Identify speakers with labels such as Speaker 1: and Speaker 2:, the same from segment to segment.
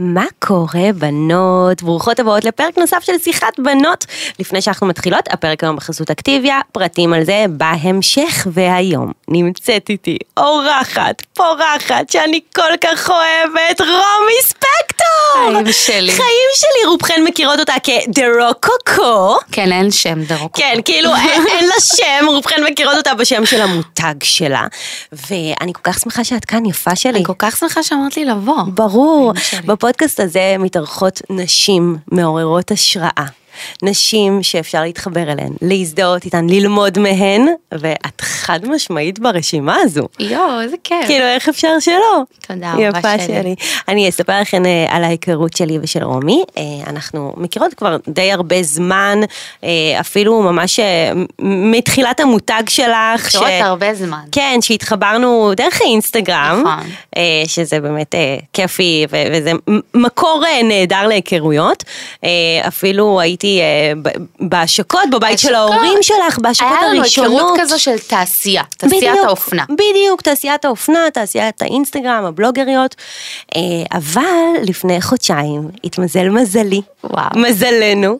Speaker 1: מה קורה בנות? ברוכות הבאות לפרק נוסף של שיחת בנות. לפני שאנחנו מתחילות, הפרק היום בחסות אקטיביה, פרטים על זה בהמשך, והיום נמצאת איתי אורחת, פורחת, שאני כל כך אוהבת, רומי ספקטור!
Speaker 2: חיים שלי.
Speaker 1: חיים שלי, רובכן מכירות אותה כדרוקוקו.
Speaker 2: כן, אין שם דרוק.
Speaker 1: כן, כאילו אין, אין לה שם, רובכן מכירות אותה בשם של המותג שלה. ואני כל כך שמחה שאת כאן, יפה שלי.
Speaker 2: אני כל כך שמחה שאמרת לי לבוא.
Speaker 1: ברור,
Speaker 2: אמא שלי.
Speaker 1: בפודקאסט הזה מתארחות נשים מעוררות השראה. נשים שאפשר להתחבר אליהן, להזדהות איתן, ללמוד מהן, ואת חד משמעית ברשימה הזו.
Speaker 2: יואו, איזה כיף.
Speaker 1: כאילו, איך אפשר שלא?
Speaker 2: כן. תודה רבה,
Speaker 1: יפה
Speaker 2: שלי.
Speaker 1: שלי. אני אספר לכם אה, על ההיכרות שלי ושל רומי. אה, אנחנו מכירות כבר די הרבה זמן, אה, אפילו ממש אה, מ- מתחילת המותג שלך.
Speaker 2: מכירות הרבה זמן.
Speaker 1: כן, שהתחברנו דרך האינסטגרם,
Speaker 2: נכון.
Speaker 1: אה, שזה באמת אה, כיפי ו- וזה מ- מקור אה, נהדר להיכרויות. אה, אפילו הייתי אה, ב- בהשקות בבית של
Speaker 2: השקות.
Speaker 1: ההורים שלך, בהשקות
Speaker 2: היה לנו היכרות
Speaker 1: הראשונות.
Speaker 2: כזו של תעשייה, תעשיית
Speaker 1: בדיוק,
Speaker 2: האופנה.
Speaker 1: בדיוק, תעשיית האופנה, תעשיית האינסטגרם, הבלוגריות. אה, אבל לפני חודשיים התמזל מזלי,
Speaker 2: וואו.
Speaker 1: מזלנו,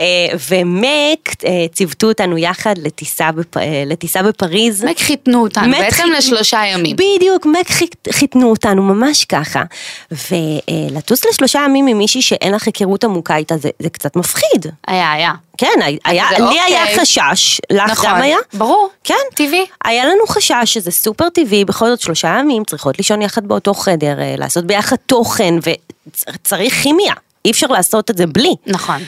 Speaker 1: אה, ומק אה, ציוותו אותנו יחד לטיסה, בפ... אה, לטיסה בפריז.
Speaker 2: באמת חיתנו אותנו,
Speaker 1: מק
Speaker 2: אה, בעצם
Speaker 1: חיתנו-
Speaker 2: לשלושה ימים.
Speaker 1: בדיוק, מק חית- חיתנו אותנו ממש ככה. ולטוס לשלושה ימים עם מישהי שאין לך היכרות עמוקה איתה, זה, זה קצת מפחיד.
Speaker 2: היה, היה.
Speaker 1: כן, היה,
Speaker 2: זה
Speaker 1: לי
Speaker 2: אוקיי.
Speaker 1: היה חשש, לך
Speaker 2: נכון.
Speaker 1: גם היה?
Speaker 2: ברור.
Speaker 1: כן.
Speaker 2: טבעי.
Speaker 1: היה לנו חשש שזה סופר טבעי, בכל זאת שלושה ימים צריכות לישון יחד באותו חדר, אה, לעשות ביחד תוכן, וצריך כימיה, אי אפשר לעשות את זה בלי.
Speaker 2: נכון.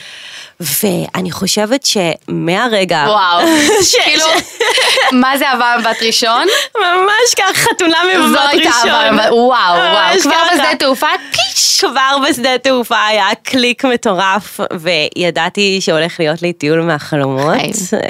Speaker 1: ואני חושבת שמהרגע...
Speaker 2: וואו.
Speaker 1: ש-
Speaker 2: כאילו,
Speaker 1: ש-
Speaker 2: מה זה אהבה מבת ראשון?
Speaker 1: ממש ככה, חתונה
Speaker 2: זו
Speaker 1: ממבט
Speaker 2: הייתה אהבה
Speaker 1: ראשון. אה,
Speaker 2: מבת... וואו, וואו.
Speaker 1: ממש
Speaker 2: כבר
Speaker 1: ככה.
Speaker 2: בשדה תעופה?
Speaker 1: פיש! כבר בשדה תעופה היה קליק מטורף, וידעתי שהולך להיות לי טיול מהחלומות,
Speaker 2: חיים.
Speaker 1: אה,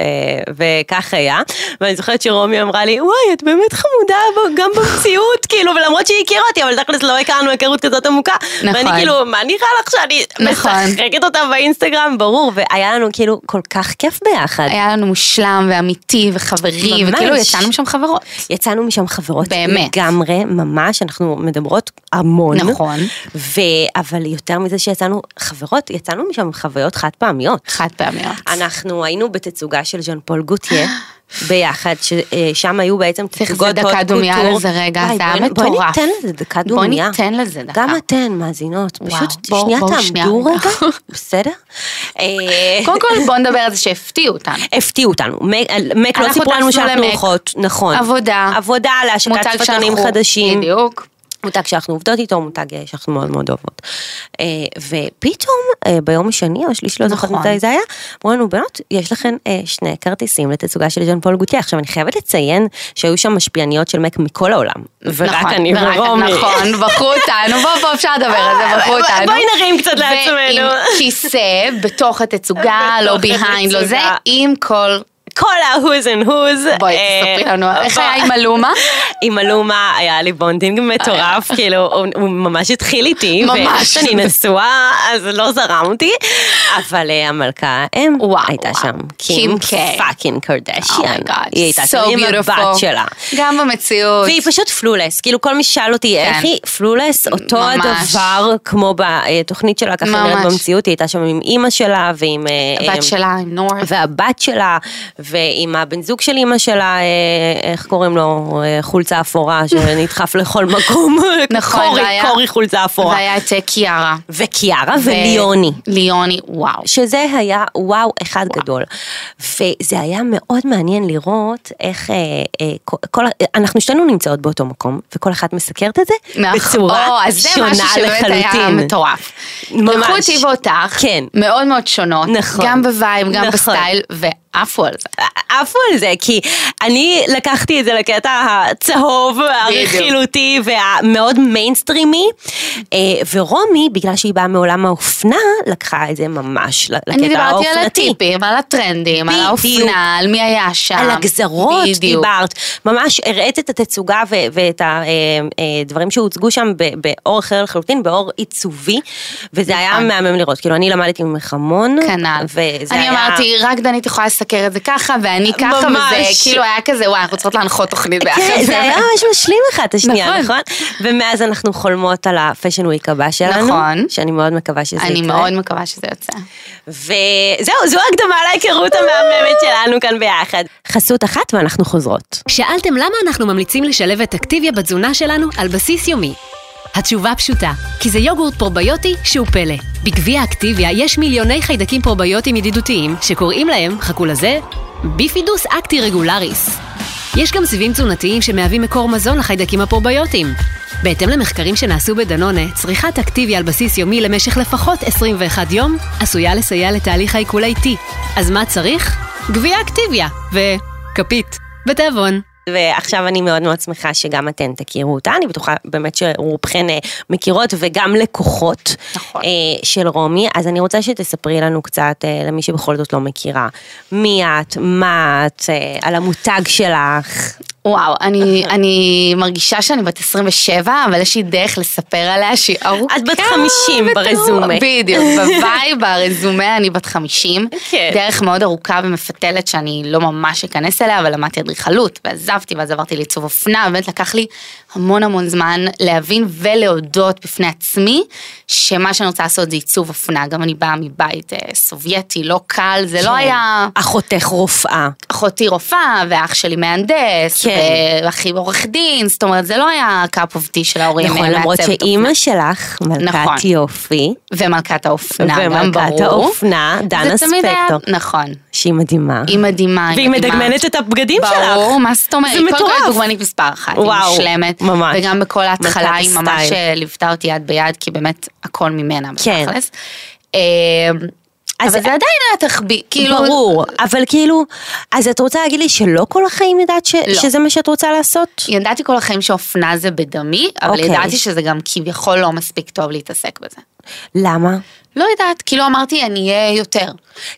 Speaker 1: וכך היה. ואני זוכרת שרומי אמרה לי, וואי, את באמת חמודה ב- גם במציאות, כאילו, ולמרות שהיא הכירה אותי, אבל תכלס לא הכרנו היכרות כזאת עמוקה.
Speaker 2: נכון.
Speaker 1: ואני כאילו, מה נראה לך שאני
Speaker 2: נכון.
Speaker 1: משחקת אותה באינסטגרם? ברור, והיה לנו כאילו כל כך כיף ביחד.
Speaker 2: היה לנו מושלם ואמיתי וחברי,
Speaker 1: ממש.
Speaker 2: וכאילו יצאנו שם חברות.
Speaker 1: יצאנו משם חברות
Speaker 2: באמת.
Speaker 1: לגמרי, ממש, אנחנו מדברות המון.
Speaker 2: נכון.
Speaker 1: ו... אבל יותר מזה שיצאנו חברות, יצאנו משם עם חוויות חד פעמיות.
Speaker 2: חד פעמיות.
Speaker 1: אנחנו היינו בתצוגה של ז'אן פול גוטייה ביחד, ששם היו בעצם
Speaker 2: צריך
Speaker 1: תצוגות
Speaker 2: איזה דקה
Speaker 1: הוט
Speaker 2: דומייה
Speaker 1: קוטור.
Speaker 2: לזה רגע,
Speaker 1: וואי,
Speaker 2: זה היה
Speaker 1: בואי- בואי
Speaker 2: מטורף.
Speaker 1: ניתן לזה דקה
Speaker 2: בואי
Speaker 1: דומייה.
Speaker 2: ניתן לזה דקה.
Speaker 1: גם אתן, מאזינות,
Speaker 2: וואו,
Speaker 1: פשוט
Speaker 2: בואו-
Speaker 1: שנייה
Speaker 2: בואו שנייה
Speaker 1: תעמדו
Speaker 2: רגע.
Speaker 1: רגע, בסדר? אה,
Speaker 2: קודם כל בוא נדבר על זה שהפתיעו אותנו.
Speaker 1: הפתיעו אותנו, מק- מק לא
Speaker 2: אנחנו
Speaker 1: סיפרו לנו
Speaker 2: טסנו
Speaker 1: שאנחנו
Speaker 2: למק.
Speaker 1: הולכות, נכון.
Speaker 2: עבודה.
Speaker 1: עבודה להשקת
Speaker 2: מותג
Speaker 1: שפתונים
Speaker 2: שאנחנו-
Speaker 1: חדשים.
Speaker 2: בדיוק.
Speaker 1: מותג שאנחנו עובדות איתו, מותג אה, שאנחנו מאוד מאוד אוהבות. אה, ופתאום אה, ביום השני או השלישי, לא זוכרת
Speaker 2: נכון.
Speaker 1: מתי זה היה, אמרו לנו בנות, יש לכן אה, שני כרטיסים לתצוגה של ז'אן פול גוטייה. עכשיו אני חייבת לציין שהיו שם משפיעניות של מק מכל העולם. ורק
Speaker 2: נכון,
Speaker 1: אני
Speaker 2: ורק-
Speaker 1: ורומי. אה,
Speaker 2: נכון, בחרו אותנו, בוא, בוא, אפשר לדבר על זה, בחרו
Speaker 1: בואי
Speaker 2: אותנו.
Speaker 1: נרים קצת לעצמנו.
Speaker 2: ועם כיסא, בתוך התצוגה, לא
Speaker 1: בתוך
Speaker 2: ביהיינד, לא זה,
Speaker 1: התצוגה.
Speaker 2: עם כל...
Speaker 1: כל ה-who's and who's.
Speaker 2: בואי,
Speaker 1: אה,
Speaker 2: תספרי לנו, איך
Speaker 1: בוא-
Speaker 2: היה עם אלומה?
Speaker 1: עם אלומה היה לי בונדינג מטורף, כאילו, הוא- הוא ממש התחיל איתי,
Speaker 2: ממש.
Speaker 1: ואני נשואה, אז לא זרמתי, אבל אה, המלכה אם
Speaker 2: וואו,
Speaker 1: הייתה
Speaker 2: וואו.
Speaker 1: שם, קים
Speaker 2: קים קיי.
Speaker 1: פאקינג קרדשיאן,
Speaker 2: אומייגאד,
Speaker 1: היא הייתה
Speaker 2: Oh so
Speaker 1: שם עם הבת
Speaker 2: beautiful.
Speaker 1: שלה.
Speaker 2: גם במציאות.
Speaker 1: והיא פשוט פלולס, כאילו כל מי ששאל אותי איך היא, פלולס, אותו
Speaker 2: כן. ממש.
Speaker 1: הדבר כמו בתוכנית שלה, ככה נראית
Speaker 2: ממש.
Speaker 1: במציאות, היא הייתה שם עם אימא שלה ועם... אה, אה,
Speaker 2: הבת שלה עם נורת.
Speaker 1: והבת שלה, ועם הבן זוג של אימא שלה, אה, איך קוראים לו, אה, חולצה אפורה, שנדחף לכל מקום.
Speaker 2: נכון,
Speaker 1: קורי,
Speaker 2: והיה-
Speaker 1: קורי חולצה אפורה.
Speaker 2: והיה את אה, קיארה.
Speaker 1: וקיארה
Speaker 2: ו-
Speaker 1: וליוני.
Speaker 2: ליוני, וואו.
Speaker 1: שזה היה וואו אחד גדול. וזה היה מאוד מעניין לראות איך אה, אה, כל- כל, אה, אנחנו שתינו נמצאות באותו מקום, וכל אחת מסקרת את זה
Speaker 2: מאח- נכון. או,
Speaker 1: בצורה
Speaker 2: אז זה
Speaker 1: שונה
Speaker 2: משהו שבאמת היה
Speaker 1: לחלוטין.
Speaker 2: מטורף.
Speaker 1: ממש.
Speaker 2: לקחו אותי ואותך,
Speaker 1: כן.
Speaker 2: מאוד מאוד שונות,
Speaker 1: נכון.
Speaker 2: גם בווייב, גם
Speaker 1: נכון.
Speaker 2: בסטייל, ועפו על זה.
Speaker 1: עפו על זה, כי אני לקחתי את זה לקטע הצהוב, הרכילותי והמאוד מיינסטרימי, אה, ורומי, בגלל שהיא באה מעולם האופנה, לקחה את זה ממש ל-
Speaker 2: אני
Speaker 1: לקטע
Speaker 2: דיברתי על
Speaker 1: האופנתי.
Speaker 2: הטיפים, על הטרנדים, על
Speaker 1: בדיוק.
Speaker 2: האופנה, על מי היה שם.
Speaker 1: על הגזרות
Speaker 2: בדיוק.
Speaker 1: דיברת, ממש הראית את התצוגה ו- ואת הדברים שהוצגו שם ב- באור אחר לחלוטין, באור עיצובי, וזה היה
Speaker 2: נכון.
Speaker 1: מהמם לראות, כאילו אני למדתי ממך המון,
Speaker 2: כנ"ל.
Speaker 1: וזה
Speaker 2: אני
Speaker 1: היה...
Speaker 2: אמרתי, רק דנית יכולה מסקר את זה ככה, ואני ככה, וזה
Speaker 1: ממש.
Speaker 2: כאילו היה כזה, וואי, אנחנו צריכות להנחות תוכנית ביחד.
Speaker 1: כן, זה היה ממש משלים אחד את השנייה,
Speaker 2: נכון.
Speaker 1: נכון? ומאז אנחנו חולמות על הפשן וויק הבא שלנו.
Speaker 2: נכון.
Speaker 1: שאני מאוד מקווה שזה יקרה.
Speaker 2: אני מאוד מקווה שזה יוצא.
Speaker 1: וזהו, זו הקדמה להיכרות המהממת שלנו כאן ביחד. חסות אחת ואנחנו חוזרות.
Speaker 3: שאלתם למה אנחנו ממליצים לשלב את אקטיביה בתזונה שלנו על בסיס יומי. התשובה פשוטה, כי זה יוגורט פרוביוטי שהוא פלא. בגביע אקטיביה יש מיליוני חיידקים פרוביוטיים ידידותיים, שקוראים להם, חכו לזה, ביפידוס אקטי רגולריס. יש גם סיבים תזונתיים שמהווים מקור מזון לחיידקים הפרוביוטיים. בהתאם למחקרים שנעשו בדנונה, צריכת אקטיביה על בסיס יומי למשך לפחות 21 יום עשויה לסייע לתהליך העיכול האיטי. אז מה צריך? גביע אקטיביה וכפית בתיאבון.
Speaker 1: ועכשיו אני מאוד מאוד שמחה שגם אתן תכירו אותה, אני בטוחה באמת שרובכן אה, מכירות וגם לקוחות
Speaker 2: נכון.
Speaker 1: אה, של רומי, אז אני רוצה שתספרי לנו קצת, אה, למי שבכל זאת לא מכירה, מי את, מה את, אה, על המותג שלך.
Speaker 2: וואו, אני, אני מרגישה שאני בת 27, אבל יש לי דרך לספר עליה שהיא ארוכה.
Speaker 1: את בת 50
Speaker 2: וטוב.
Speaker 1: ברזומה.
Speaker 2: בדיוק, בוואי, ברזומה אני בת 50.
Speaker 1: כן.
Speaker 2: דרך מאוד ארוכה ומפתלת שאני לא ממש אכנס אליה, אבל למדתי אדריכלות, ועזבתי, ואז עברתי לעיצוב אופנה, ובאמת לקח לי המון המון זמן להבין ולהודות בפני עצמי, שמה שאני רוצה לעשות זה עיצוב אופנה. גם אני באה מבית אה, סובייטי, לא קל, זה
Speaker 1: כן.
Speaker 2: לא היה...
Speaker 1: אחותך רופאה.
Speaker 2: אחותי רופאה, ואח שלי מהנדס,
Speaker 1: כן.
Speaker 2: ואחי עורך דין, זאת אומרת, זה לא היה קאפ אוף טי של ההורים.
Speaker 1: נכון,
Speaker 2: אה,
Speaker 1: למרות
Speaker 2: מעצבת
Speaker 1: שאימא שלך,
Speaker 2: נכון.
Speaker 1: מלכת יופי,
Speaker 2: אופנה. ומלכת האופנה, גם ברור.
Speaker 1: ומלכת האופנה, דנה
Speaker 2: זה תמיד היה-
Speaker 1: ספקטור,
Speaker 2: נכון.
Speaker 1: שהיא מדהימה.
Speaker 2: היא מדהימה,
Speaker 1: והיא
Speaker 2: מדהימה.
Speaker 1: מדגמנת את הבגדים שלך.
Speaker 2: ברור, מה זאת אומרת?
Speaker 1: זה
Speaker 2: קודם כל
Speaker 1: מטורף.
Speaker 2: היא דוגמנית מספר אחת, היא
Speaker 1: וואו,
Speaker 2: מושלמת.
Speaker 1: ממש.
Speaker 2: וגם בכל ההתחלה
Speaker 1: מלכת
Speaker 2: היא ממש
Speaker 1: הסטייל.
Speaker 2: אה, ליוותה אותי יד ביד, כי באמת הכל ממנה
Speaker 1: כן.
Speaker 2: בתכלס. אה, אבל
Speaker 1: אז-
Speaker 2: זה עדיין היה תחביא, כאילו...
Speaker 1: ברור, אבל כאילו, אז את רוצה להגיד לי שלא כל החיים ידעת ש-
Speaker 2: לא.
Speaker 1: שזה מה שאת רוצה לעשות?
Speaker 2: ידעתי כל החיים שאופנה זה בדמי, אבל
Speaker 1: אוקיי.
Speaker 2: ידעתי שזה גם כביכול לא מספיק טוב להתעסק בזה.
Speaker 1: למה?
Speaker 2: לא יודעת, כאילו אמרתי, אני אהיה יותר.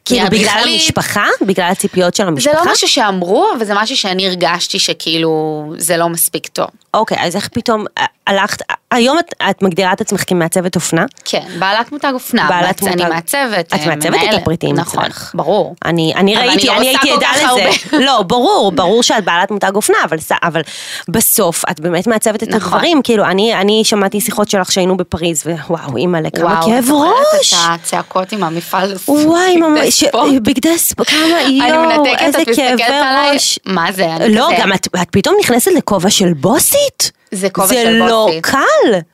Speaker 1: כאילו
Speaker 2: אני
Speaker 1: בגלל
Speaker 2: אדריכלית,
Speaker 1: המשפחה? בגלל הציפיות של
Speaker 2: זה
Speaker 1: המשפחה?
Speaker 2: לא משהו שאמרו, אבל זה משהו שאני הרגשתי שכאילו, זה לא מספיק טוב.
Speaker 1: אוקיי, אז איך פתאום אה, הלכת, היום את- את מגדירה את עצמך כמעצבת אופנה?
Speaker 2: כן, בעלת מותג אופנה.
Speaker 1: בעלת
Speaker 2: מעצ-
Speaker 1: מותג.
Speaker 2: אני מעצבת,
Speaker 1: את
Speaker 2: אה,
Speaker 1: מעצבת
Speaker 2: מנהלת.
Speaker 1: את הפריטים
Speaker 2: נכון,
Speaker 1: אצלך.
Speaker 2: ברור.
Speaker 1: אני, אני
Speaker 2: אבל אני
Speaker 1: ראיתי,
Speaker 2: לא
Speaker 1: אני
Speaker 2: עושה
Speaker 1: הייתי
Speaker 2: כל
Speaker 1: עדה
Speaker 2: כך
Speaker 1: לזה. לא, ברור, ברור שאת בעלת מותג אופנה, אבל, ס- אבל בסוף את באמת מעצבת את
Speaker 2: נכון.
Speaker 1: הדברים. כאילו, אני, אני שמעתי שיחות שלך שהיינו בפריז, ווואו, אימא'לה, כמה
Speaker 2: וואו, את
Speaker 1: כאב
Speaker 2: זוכרת
Speaker 1: ראש.
Speaker 2: את הצעקות עם המפעל?
Speaker 1: וואי,
Speaker 2: בגדי
Speaker 1: ממש,
Speaker 2: ספורט?
Speaker 1: בגדי ספורט, כמה,
Speaker 2: אני
Speaker 1: יואו,
Speaker 2: מנתקת,
Speaker 1: איזה
Speaker 2: את
Speaker 1: כאבי
Speaker 2: מסתכלת עליי,
Speaker 1: ראש.
Speaker 2: מה זה? אני
Speaker 1: לא,
Speaker 2: כזה-
Speaker 1: גם את את פתאום נכנסת לכובע של בוסית?
Speaker 2: זה כובע
Speaker 1: זה
Speaker 2: של
Speaker 1: לא
Speaker 2: בוסית.
Speaker 1: קל.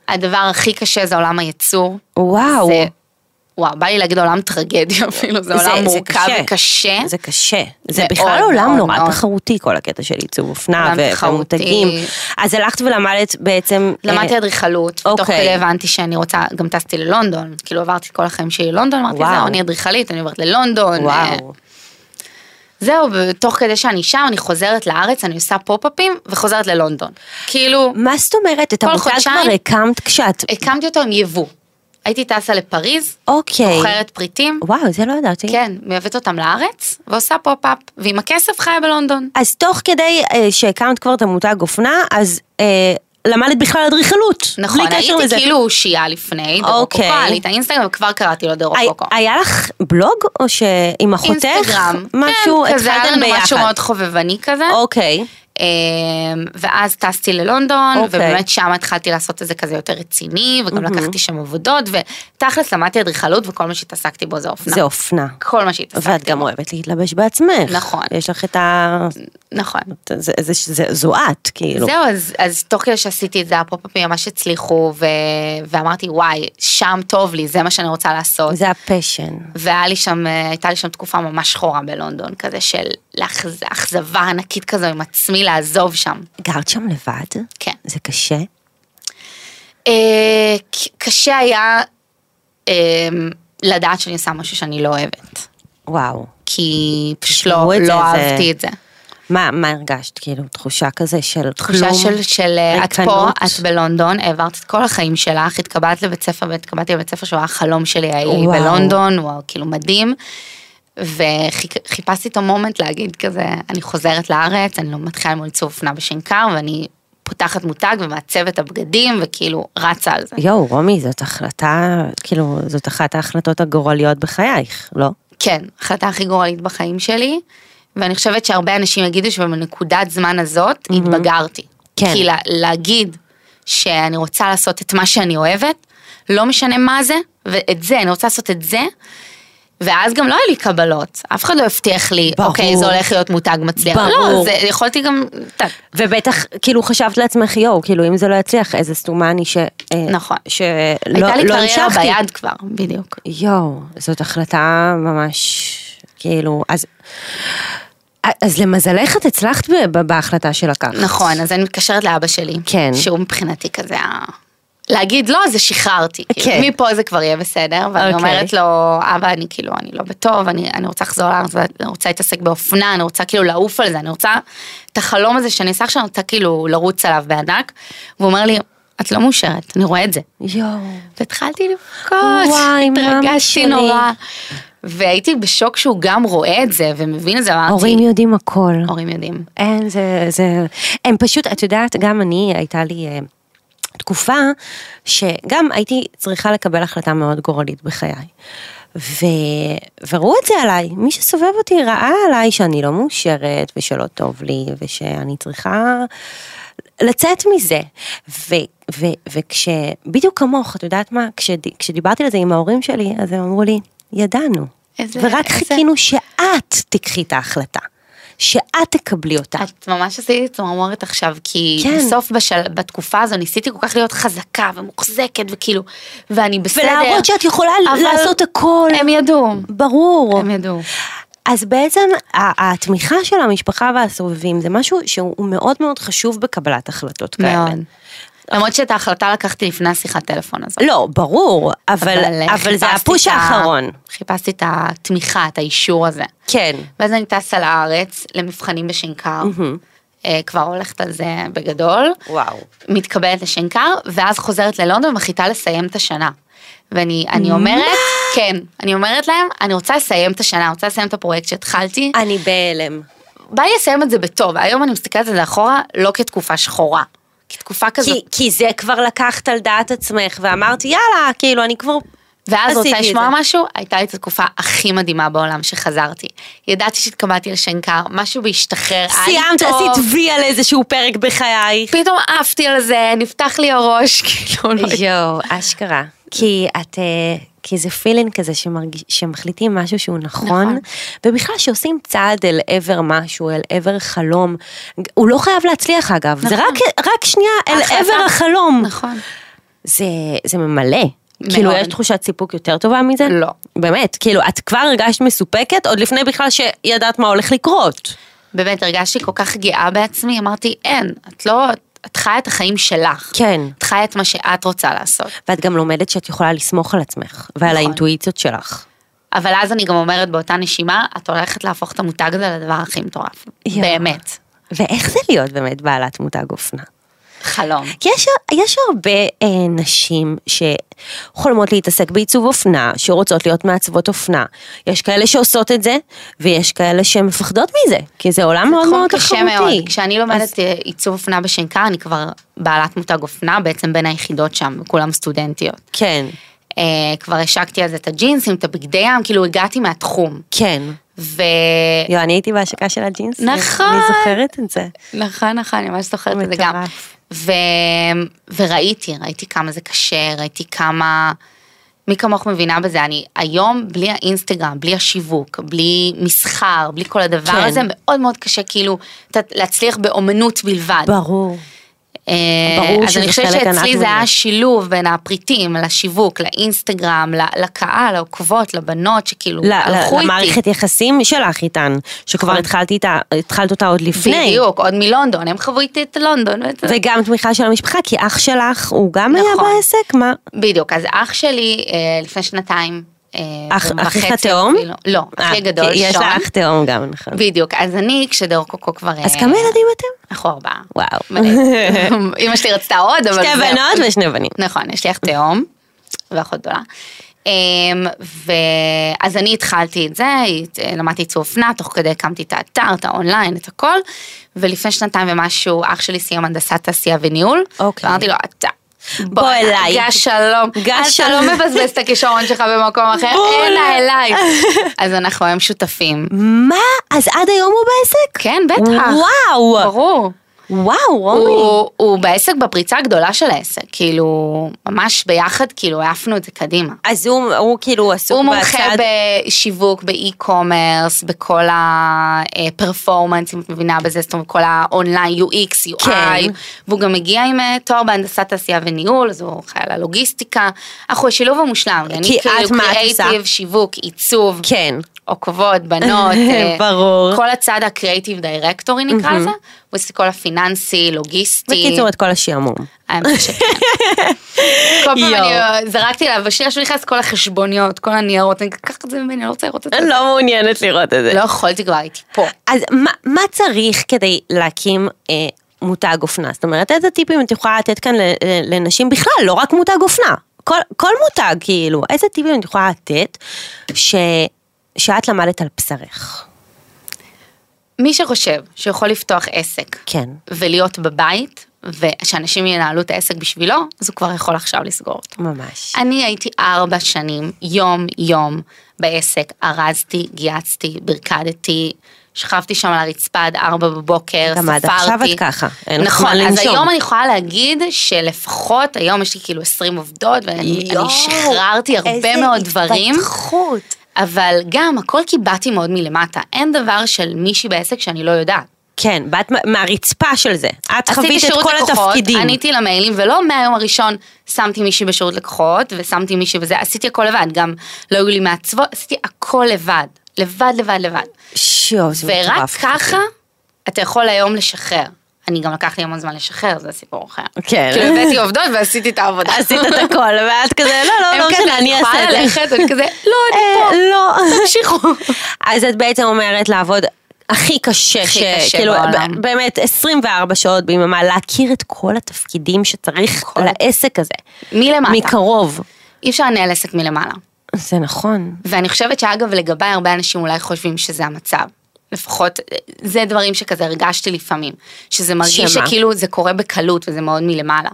Speaker 2: הדבר הכי קשה זה עולם הייצור.
Speaker 1: וואו.
Speaker 2: זה, וואו, בא לי להגיד עולם טרגדיה אפילו, זה
Speaker 1: זה-
Speaker 2: עולם
Speaker 1: זה
Speaker 2: מורכב
Speaker 1: קשה.
Speaker 2: וקשה.
Speaker 1: זה קשה, זה
Speaker 2: מאוד,
Speaker 1: בכלל עולם
Speaker 2: מאוד,
Speaker 1: נורא
Speaker 2: מאוד.
Speaker 1: תחרותי כל הקטע של עיצוב אופנה
Speaker 2: עולם
Speaker 1: ו-
Speaker 2: תחרותי.
Speaker 1: ומותגים. אז הלכת ולמדת בעצם...
Speaker 2: למדתי
Speaker 1: אה,
Speaker 2: אדריכלות, תוך
Speaker 1: אוקיי.
Speaker 2: כדי הבנתי שאני רוצה, גם טסתי ללונדון, כאילו עברתי את כל החיים שלי ללונדון, אמרתי
Speaker 1: וואו.
Speaker 2: זהו, אני אדריכלית, אני עוברת ללונדון. אה,
Speaker 1: וואו,
Speaker 2: זהו, ותוך כדי שאני שם, אני חוזרת לארץ, אני עושה פופ-אפים וחוזרת ללונדון. כאילו,
Speaker 1: מה זאת אומרת? את
Speaker 2: כל
Speaker 1: המותג
Speaker 2: חודשיים- אה,
Speaker 1: כבר הקמת כשאת...
Speaker 2: הקמתי אותו עם יבוא. הייתי טסה לפריז,
Speaker 1: אוקיי.
Speaker 2: מוכרת פריטים,
Speaker 1: וואו, זה לא ידעתי.
Speaker 2: כן, מייבאת אותם לארץ, ועושה פופ-אפ, ועם הכסף חיה בלונדון.
Speaker 1: אז תוך כדי אה, שהקמת כבר את המותג אופנה, אז אה, למדת בכלל אדריכלות.
Speaker 2: נכון,
Speaker 1: בלי קשר
Speaker 2: הייתי
Speaker 1: לזה.
Speaker 2: כאילו אושייה לפני, דרוקוקו,
Speaker 1: אוקיי.
Speaker 2: עלי את האינסטגרם, וכבר קראתי לו
Speaker 1: הי-
Speaker 2: דרוקוקו.
Speaker 1: היה לך בלוג או שעם אחותך?
Speaker 2: אוקיי, אינסטגרם,
Speaker 1: משהו,
Speaker 2: כן, כזה היה
Speaker 1: התחלתם
Speaker 2: לנו משהו
Speaker 1: ביחד.
Speaker 2: מאוד חובבני כזה,
Speaker 1: אוקיי.
Speaker 2: אמ, ואז טסתי ללונדון,
Speaker 1: אוקיי.
Speaker 2: ובאמת שם התחלתי לעשות את זה כזה יותר רציני, וגם לקחתי שם עבודות, ותכלס למדתי אדריכלות, וכל מה שהתעסקתי בו זה אופנה.
Speaker 1: זה אופנה.
Speaker 2: כל מה שהתעסקתי.
Speaker 1: ואת גם אוהבת להתלבש בעצמך.
Speaker 2: נכון.
Speaker 1: יש לך את ה...
Speaker 2: נכון.
Speaker 1: זה, זה, זה, זו את, כאילו.
Speaker 2: זהו, אז, אז תוך כדי שעשיתי את זה, הפופ-אפים ממש הצליחו, ו... ואמרתי, וואי, שם טוב לי, זה מה שאני רוצה לעשות.
Speaker 1: זה הפשן.
Speaker 2: והיה לי שם, אה, הייתה לי שם תקופה ממש שחורה בלונדון, כזה של לאכז- אכזבה ענקית כזו עם עצמי לעזוב שם.
Speaker 1: גרת שם לבד?
Speaker 2: כן.
Speaker 1: זה קשה?
Speaker 2: אה, ק- קשה היה אה, לדעת שאני עושה משהו שאני לא אוהבת,
Speaker 1: וואו.
Speaker 2: כי פשוט
Speaker 1: תשמעו
Speaker 2: לא,
Speaker 1: את
Speaker 2: לא
Speaker 1: זה, זה-
Speaker 2: אהבתי את זה.
Speaker 1: מה, מה הרגשת? כאילו, תחושה כזה של
Speaker 2: תחושה
Speaker 1: כלום?
Speaker 2: של, של אה, את פה,
Speaker 1: ריקנות?
Speaker 2: את בלונדון, העברת את כל החיים שלך, התקבלת לבית ספר, והתקבלתי לבית ספר שהוא היה החלום שלי, היה לי
Speaker 1: וואו.
Speaker 2: בלונדון, הוא היה כאילו מדהים. וחיפשתי את המומנט להגיד כזה, אני חוזרת לארץ, אני לא מתחילה ללמוד עיצוב אופנה בשנקר, ואני פותחת מותג ומעצבת הבגדים, וכאילו רצה על זה.
Speaker 1: יואו, רומי, זאת החלטה, כאילו, זאת אחת ההחלטות הגורליות בחייך, לא?
Speaker 2: כן, החלטה הכי גורלית בחיים שלי, ואני חושבת שהרבה אנשים יגידו שבנקודת זמן הזאת mm-hmm. התבגרתי.
Speaker 1: כן.
Speaker 2: כי לה, להגיד שאני רוצה לעשות את מה שאני אוהבת, לא משנה מה זה, ואת זה, אני רוצה לעשות את זה. ואז גם לא היה לי קבלות, אף אחד לא הבטיח לי,
Speaker 1: ברור.
Speaker 2: אוקיי, זה הולך להיות מותג מצליח.
Speaker 1: ברור.
Speaker 2: לא, זה, יכולתי גם, אתה-
Speaker 1: ובטח, כאילו חשבת לעצמך, יואו, כאילו אם זה לא יצליח, איזה סתומה אני ש... אה,
Speaker 2: נכון.
Speaker 1: שלא
Speaker 2: הייתה לי
Speaker 1: לא
Speaker 2: קריירה
Speaker 1: המשכתי.
Speaker 2: ביד כבר, בדיוק.
Speaker 1: יואו, זאת החלטה ממש, כאילו, אז... אז למזלך את הצלחת ב- ב- בהחלטה שלקחת.
Speaker 2: נכון, אז אני מתקשרת לאבא שלי.
Speaker 1: כן.
Speaker 2: שהוא מבחינתי כזה ה... להגיד לא, זה שחררתי. כאילו,
Speaker 1: כן.
Speaker 2: מפה זה כבר יהיה בסדר,
Speaker 1: אוקיי.
Speaker 2: ואני אומרת לו, אבא, אני כאילו, אני לא בטוב, אני, אני רוצה לחזור לארץ, אני רוצה להתעסק באופנה, אני רוצה כאילו לעוף על זה, אני רוצה את החלום הזה שאני עושה עכשיו, אני רוצה כאילו לרוץ עליו בענק. והוא אומר לי, את לא מאושרת, אני רואה את זה.
Speaker 1: יואו.
Speaker 2: והתחלתי לבכות,
Speaker 1: וואי, מאמא
Speaker 2: התרגשתי
Speaker 1: שלי.
Speaker 2: נורא. והייתי בשוק שהוא גם רואה את זה ומבין את זה, אמרתי,
Speaker 1: הורים יודעים הכל.
Speaker 2: הורים יודעים.
Speaker 1: אין, זה, זה, הם פשוט, את יודעת, גם אני, הייתה לי אה, תקופה שגם הייתי צריכה לקבל החלטה מאוד גורלית בחיי. ו... וראו את זה עליי, מי שסובב אותי ראה עליי שאני לא מאושרת ושלא טוב לי ושאני צריכה לצאת מזה. ו... ו... וכש... בדיוק כמוך, את יודעת מה? כשד... כשדיברתי על זה עם ההורים שלי, אז הם אמרו לי, ידענו.
Speaker 2: איזה-
Speaker 1: ורק
Speaker 2: איזה-
Speaker 1: חיכינו שאת תקחי את ההחלטה. שאת תקבלי אותה.
Speaker 2: את ממש עשית לי צמרמורת עכשיו, כי
Speaker 1: כן.
Speaker 2: כן. בסוף בשל... בתקופה הזו ניסיתי כל כך להיות חזקה ומוחזקת וכאילו, ואני בסדר.
Speaker 1: ולהראות שאת יכולה
Speaker 2: אבל
Speaker 1: לעשות הכל.
Speaker 2: הם ידעו,
Speaker 1: ברור.
Speaker 2: הם ידעו.
Speaker 1: אז בעצם ה- התמיכה של המשפחה והסובבים זה משהו שהוא מאוד מאוד חשוב בקבלת החלטות כאלה.
Speaker 2: מאוד. כן. למרות שאת ההחלטה לקחתי לפני השיחת טלפון הזאת.
Speaker 1: לא, ברור, אבל, אבל זה
Speaker 2: אה, חיפשתי
Speaker 1: הפוש
Speaker 2: את ה-
Speaker 1: האחרון.
Speaker 2: חיפשתי את התמיכה, את האישור הזה.
Speaker 1: כן.
Speaker 2: ואז אני טסה לארץ למבחנים בשנקר, אה, כבר הולכת על זה בגדול.
Speaker 1: וואו.
Speaker 2: מתקבלת לשנקר, ואז חוזרת ללונדון ומחליטה לסיים את השנה. ואני אני אומרת, כן, אני אומרת להם, אני רוצה לסיים את השנה, אני רוצה לסיים את הפרויקט שהתחלתי,
Speaker 1: אני בהלם.
Speaker 2: בא לי לסיים את זה בטוב, היום אני מסתכלת על זה אחורה, לא כתקופה שחורה, כתקופה כזאת,
Speaker 1: כי, כי זה כבר לקחת על דעת עצמך ואמרת יאללה, כאילו אני כבר...
Speaker 2: ואז
Speaker 1: עשיתי
Speaker 2: רוצה
Speaker 1: את
Speaker 2: לשמוע
Speaker 1: זה.
Speaker 2: משהו, הייתה לי את התקופה הכי מדהימה בעולם שחזרתי. ידעתי שהתקבלתי לשנקר, משהו בהשתחרר, היה לי
Speaker 1: סיימת,
Speaker 2: טוב.
Speaker 1: עשית וי על איזשהו פרק בחייך.
Speaker 2: פתאום עפתי על זה, נפתח לי הראש, כאילו, לא
Speaker 1: יואו, אשכרה. כי את... אה, כי זה פילינג כזה שמרגיש, שמחליטים משהו שהוא נכון, נכון,
Speaker 2: נכון.
Speaker 1: ובכלל שעושים צעד אל עבר משהו, אל עבר חלום. הוא לא חייב להצליח אגב, נכון. זה
Speaker 2: נכון.
Speaker 1: רק, רק שנייה אל
Speaker 2: החלטה.
Speaker 1: עבר החלום. נכון.
Speaker 2: נכון.
Speaker 1: זה, זה ממלא. מאוד. כאילו יש תחושת סיפוק יותר טובה מזה?
Speaker 2: לא.
Speaker 1: באמת, כאילו את כבר הרגשת מסופקת עוד לפני בכלל שידעת מה הולך לקרות.
Speaker 2: באמת הרגשתי כל כך גאה בעצמי, אמרתי אין, את לא, את חיה את החיים שלך.
Speaker 1: כן.
Speaker 2: את חיה את מה שאת רוצה לעשות.
Speaker 1: ואת גם לומדת שאת יכולה לסמוך על עצמך, ועל
Speaker 2: נכון.
Speaker 1: האינטואיציות שלך.
Speaker 2: אבל אז אני גם אומרת באותה נשימה, את הולכת להפוך את המותג הזה לדבר הכי מטורף.
Speaker 1: יואו.
Speaker 2: באמת.
Speaker 1: ואיך זה להיות באמת בעלת מותג אופנה?
Speaker 2: חלום.
Speaker 1: כי יש, יש הרבה אה, נשים שחולמות להתעסק בעיצוב אופנה, שרוצות להיות מעצבות אופנה. יש כאלה שעושות את זה, ויש כאלה שמפחדות מזה, כי זה עולם מאוד
Speaker 2: תחום
Speaker 1: מאוד
Speaker 2: נכון, קשה
Speaker 1: תחרותי.
Speaker 2: מאוד. כשאני לומדת אה, עיצוב אופנה בשנקר, אני כבר בעלת מותג אופנה, בעצם בין היחידות שם, כולם סטודנטיות.
Speaker 1: כן,
Speaker 2: אה, כבר השקתי על זה את הג'ינסים, את הבגדי ים, כאילו הגעתי מהתחום.
Speaker 1: כן.
Speaker 2: ו...
Speaker 1: יואו, אני הייתי בהשקה של הג'ינסים.
Speaker 2: נכון.
Speaker 1: אני זוכרת את זה.
Speaker 2: נכון, נכון, אני ממש זוכרת את זה גם.
Speaker 1: מטורף.
Speaker 2: ו... וראיתי, ראיתי כמה זה קשה, ראיתי כמה... מי כמוך מבינה בזה, אני היום בלי האינסטגרם, בלי השיווק, בלי מסחר, בלי כל הדבר
Speaker 1: כן.
Speaker 2: כן. הזה, מאוד מאוד קשה כאילו את יודעת, להצליח באומנות בלבד.
Speaker 1: ברור.
Speaker 2: אה,
Speaker 1: ברור
Speaker 2: אז
Speaker 1: שזה
Speaker 2: אני חושבת
Speaker 1: חלק ענק
Speaker 2: שאצלי זה
Speaker 1: ממנו.
Speaker 2: היה שילוב בין הפריטים, לשיווק, לאינסטגרם, ל- לקהל, לעוקבות, לבנות, שכאילו
Speaker 1: ל-
Speaker 2: הלכו
Speaker 1: ל-
Speaker 2: איתי.
Speaker 1: למערכת יחסים שלך איתן, שכבר
Speaker 2: נכון.
Speaker 1: התחלתי איתה- התחלת אותה עוד לפני.
Speaker 2: בדיוק, עוד מלונדון, הם חוו איתי את לונדון. ואת-
Speaker 1: וגם תמיכה של המשפחה, כי אח שלך, הוא גם היה
Speaker 2: נכון.
Speaker 1: בעסק? מה?
Speaker 2: בדיוק, אז אח שלי אה, לפני שנתיים. אה,
Speaker 1: אח-
Speaker 2: ומחצי
Speaker 1: אחיך התאום?
Speaker 2: אפילו- לא,
Speaker 1: אה,
Speaker 2: אחי הגדול,
Speaker 1: כי יש
Speaker 2: שון.
Speaker 1: לה אח תאום גם, נכון.
Speaker 2: בדיוק, אז אני כשדורקוקו כבר...
Speaker 1: אז
Speaker 2: אה,
Speaker 1: כמה ילדים אתם?
Speaker 2: אנחנו ארבעה.
Speaker 1: וואו.
Speaker 2: מלא. אמא שלי רצתה עוד, אבל...
Speaker 1: שתי
Speaker 2: זהו.
Speaker 1: בנות ושני בנים.
Speaker 2: נכון, יש לי אח תאום ואחות גדולה. אמ, ו- אז אני התחלתי את זה, הת- למדתי עיצוב אופנה, תוך כדי הקמתי את האתר, את האונליין, את הכל, ולפני שנתיים ומשהו אח שלי סיים הנדסת תעשייה וניהול,
Speaker 1: אוקיי.
Speaker 2: ואמרתי לו, אתה
Speaker 1: בוא אליי.
Speaker 2: גש שלום.
Speaker 1: גש
Speaker 2: אז אתה
Speaker 1: שלום.
Speaker 2: לא מבזבז את הכישרון שלך במקום אחר,
Speaker 1: בול.
Speaker 2: אלא אליי. אז אנחנו היום שותפים.
Speaker 1: מה? אז עד היום הוא בעסק?
Speaker 2: כן, בטח.
Speaker 1: וואו.
Speaker 2: ברור.
Speaker 1: וואו, רומי.
Speaker 2: הוא, הוא בעסק בפריצה הגדולה של העסק, כאילו, ממש ביחד, כאילו, העפנו את זה קדימה.
Speaker 1: אז הוא הוא כאילו עסוק
Speaker 2: הוא מומחה
Speaker 1: בצד...
Speaker 2: בשיווק, באי-קומרס, בכל הפרפורמנס, אם את מבינה בזה, זאת אומרת, כל האונליין, UX, UI,
Speaker 1: כן.
Speaker 2: והוא גם מגיע עם אה, תואר בהנדסת תעשייה וניהול, אז הוא חייל הלוגיסטיקה. אנחנו השילוב המושלם, כי אני
Speaker 1: את
Speaker 2: כאילו
Speaker 1: מה את עושה?
Speaker 2: קריאייטיב, שיווק, עיצוב,
Speaker 1: כן.
Speaker 2: עוקבות, בנות, אה,
Speaker 1: ברור.
Speaker 2: כל הצד הקריאייטיב דירקטורי נקרא לזה, הוא עושה כל הפיננסי, לוגיסטי.
Speaker 1: בקיצור, את כל השעמום.
Speaker 2: האמת שכן. אה, כל פעם
Speaker 1: יואו.
Speaker 2: אני אה, זרקתי עליו, בשנייה שהוא נכנס כל החשבוניות, כל הניירות, אני קח את זה ממני, אני לא רוצה לראות את זה.
Speaker 1: אני לא מעוניינת לראות את זה.
Speaker 2: לא יכולתי כבר, הייתי פה.
Speaker 1: אז מה, מה צריך כדי להקים אה, מותג אופנה? זאת אומרת, איזה טיפים את יכולה לתת כאן ל- ל- לנשים בכלל, לא רק מותג אופנה. כל, כל מותג, כאילו, איזה טיפים את יכולה לתת ש, שאת למדת על בשרך?
Speaker 2: מי שחושב שיכול לפתוח עסק
Speaker 1: כן.
Speaker 2: ולהיות בבית, ושאנשים ינהלו את העסק בשבילו, אז הוא כבר יכול עכשיו לסגור אותו.
Speaker 1: ממש.
Speaker 2: אני הייתי ארבע שנים, יום-יום, בעסק. ארזתי, גייצתי, ברקדתי, שכבתי שם על הרצפה עד ארבע בבוקר,
Speaker 1: גם עד
Speaker 2: ספרתי.
Speaker 1: עכשיו את ככה, אין לך
Speaker 2: נכון,
Speaker 1: זמן
Speaker 2: אז
Speaker 1: לנשום.
Speaker 2: היום אני יכולה להגיד שלפחות, היום יש לי כאילו 20 עובדות, ואני אני שחררתי הרבה מאוד דברים.
Speaker 1: איזה התפתחות.
Speaker 2: אבל גם, הכל כי באתי מאוד מלמטה. אין דבר של מישהי בעסק שאני לא יודעת.
Speaker 1: כן, באת מה- מהרצפה של זה. את חווית
Speaker 2: עשיתי
Speaker 1: את
Speaker 2: שירות
Speaker 1: כל
Speaker 2: לקוחות,
Speaker 1: התפקידים.
Speaker 2: עניתי למיילים, ולא מהיום הראשון שמתי מישהי בשירות לקוחות, ושמתי מישהי בזה, עשיתי הכל לבד, גם לא היו לי מעצבות, עשיתי הכל לבד, לבד, לבד, לבד.
Speaker 1: שיו, זה
Speaker 2: ורק
Speaker 1: מטורף.
Speaker 2: ככה אתה יכול היום לשחרר. אני גם לקח לי המון זמן לשחרר, זה סיפור אחר.
Speaker 1: כן.
Speaker 2: כאילו הבאתי עובדות ועשיתי את העבודה.
Speaker 1: עשית את הכל, ואת כזה, לא, לא,
Speaker 2: הם
Speaker 1: לא
Speaker 2: כזה,
Speaker 1: משנה, אני אעשה
Speaker 2: יכולה
Speaker 1: את זה.
Speaker 2: ללכת, אני כזה, לא,
Speaker 1: אה,
Speaker 2: אני
Speaker 1: לא.
Speaker 2: פה, תמשיכו.
Speaker 1: אז את בעצם אומרת לעבוד הכי קשה,
Speaker 2: הכי
Speaker 1: ש-
Speaker 2: קשה
Speaker 1: כאילו,
Speaker 2: בעולם.
Speaker 1: ב- באמת 24 שעות ביממה, להכיר את כל התפקידים שצריך
Speaker 2: כל-
Speaker 1: לעסק הזה.
Speaker 2: מלמטה.
Speaker 1: מקרוב.
Speaker 2: אי אפשר לנהל עסק מלמעלה.
Speaker 1: זה נכון.
Speaker 2: ואני חושבת שאגב לגביי הרבה אנשים אולי חושבים שזה המצב. לפחות אה, זה דברים שכזה הרגשתי לפעמים, שזה מרגיש
Speaker 1: שמה?
Speaker 2: שכאילו זה קורה בקלות וזה מאוד מלמעלה.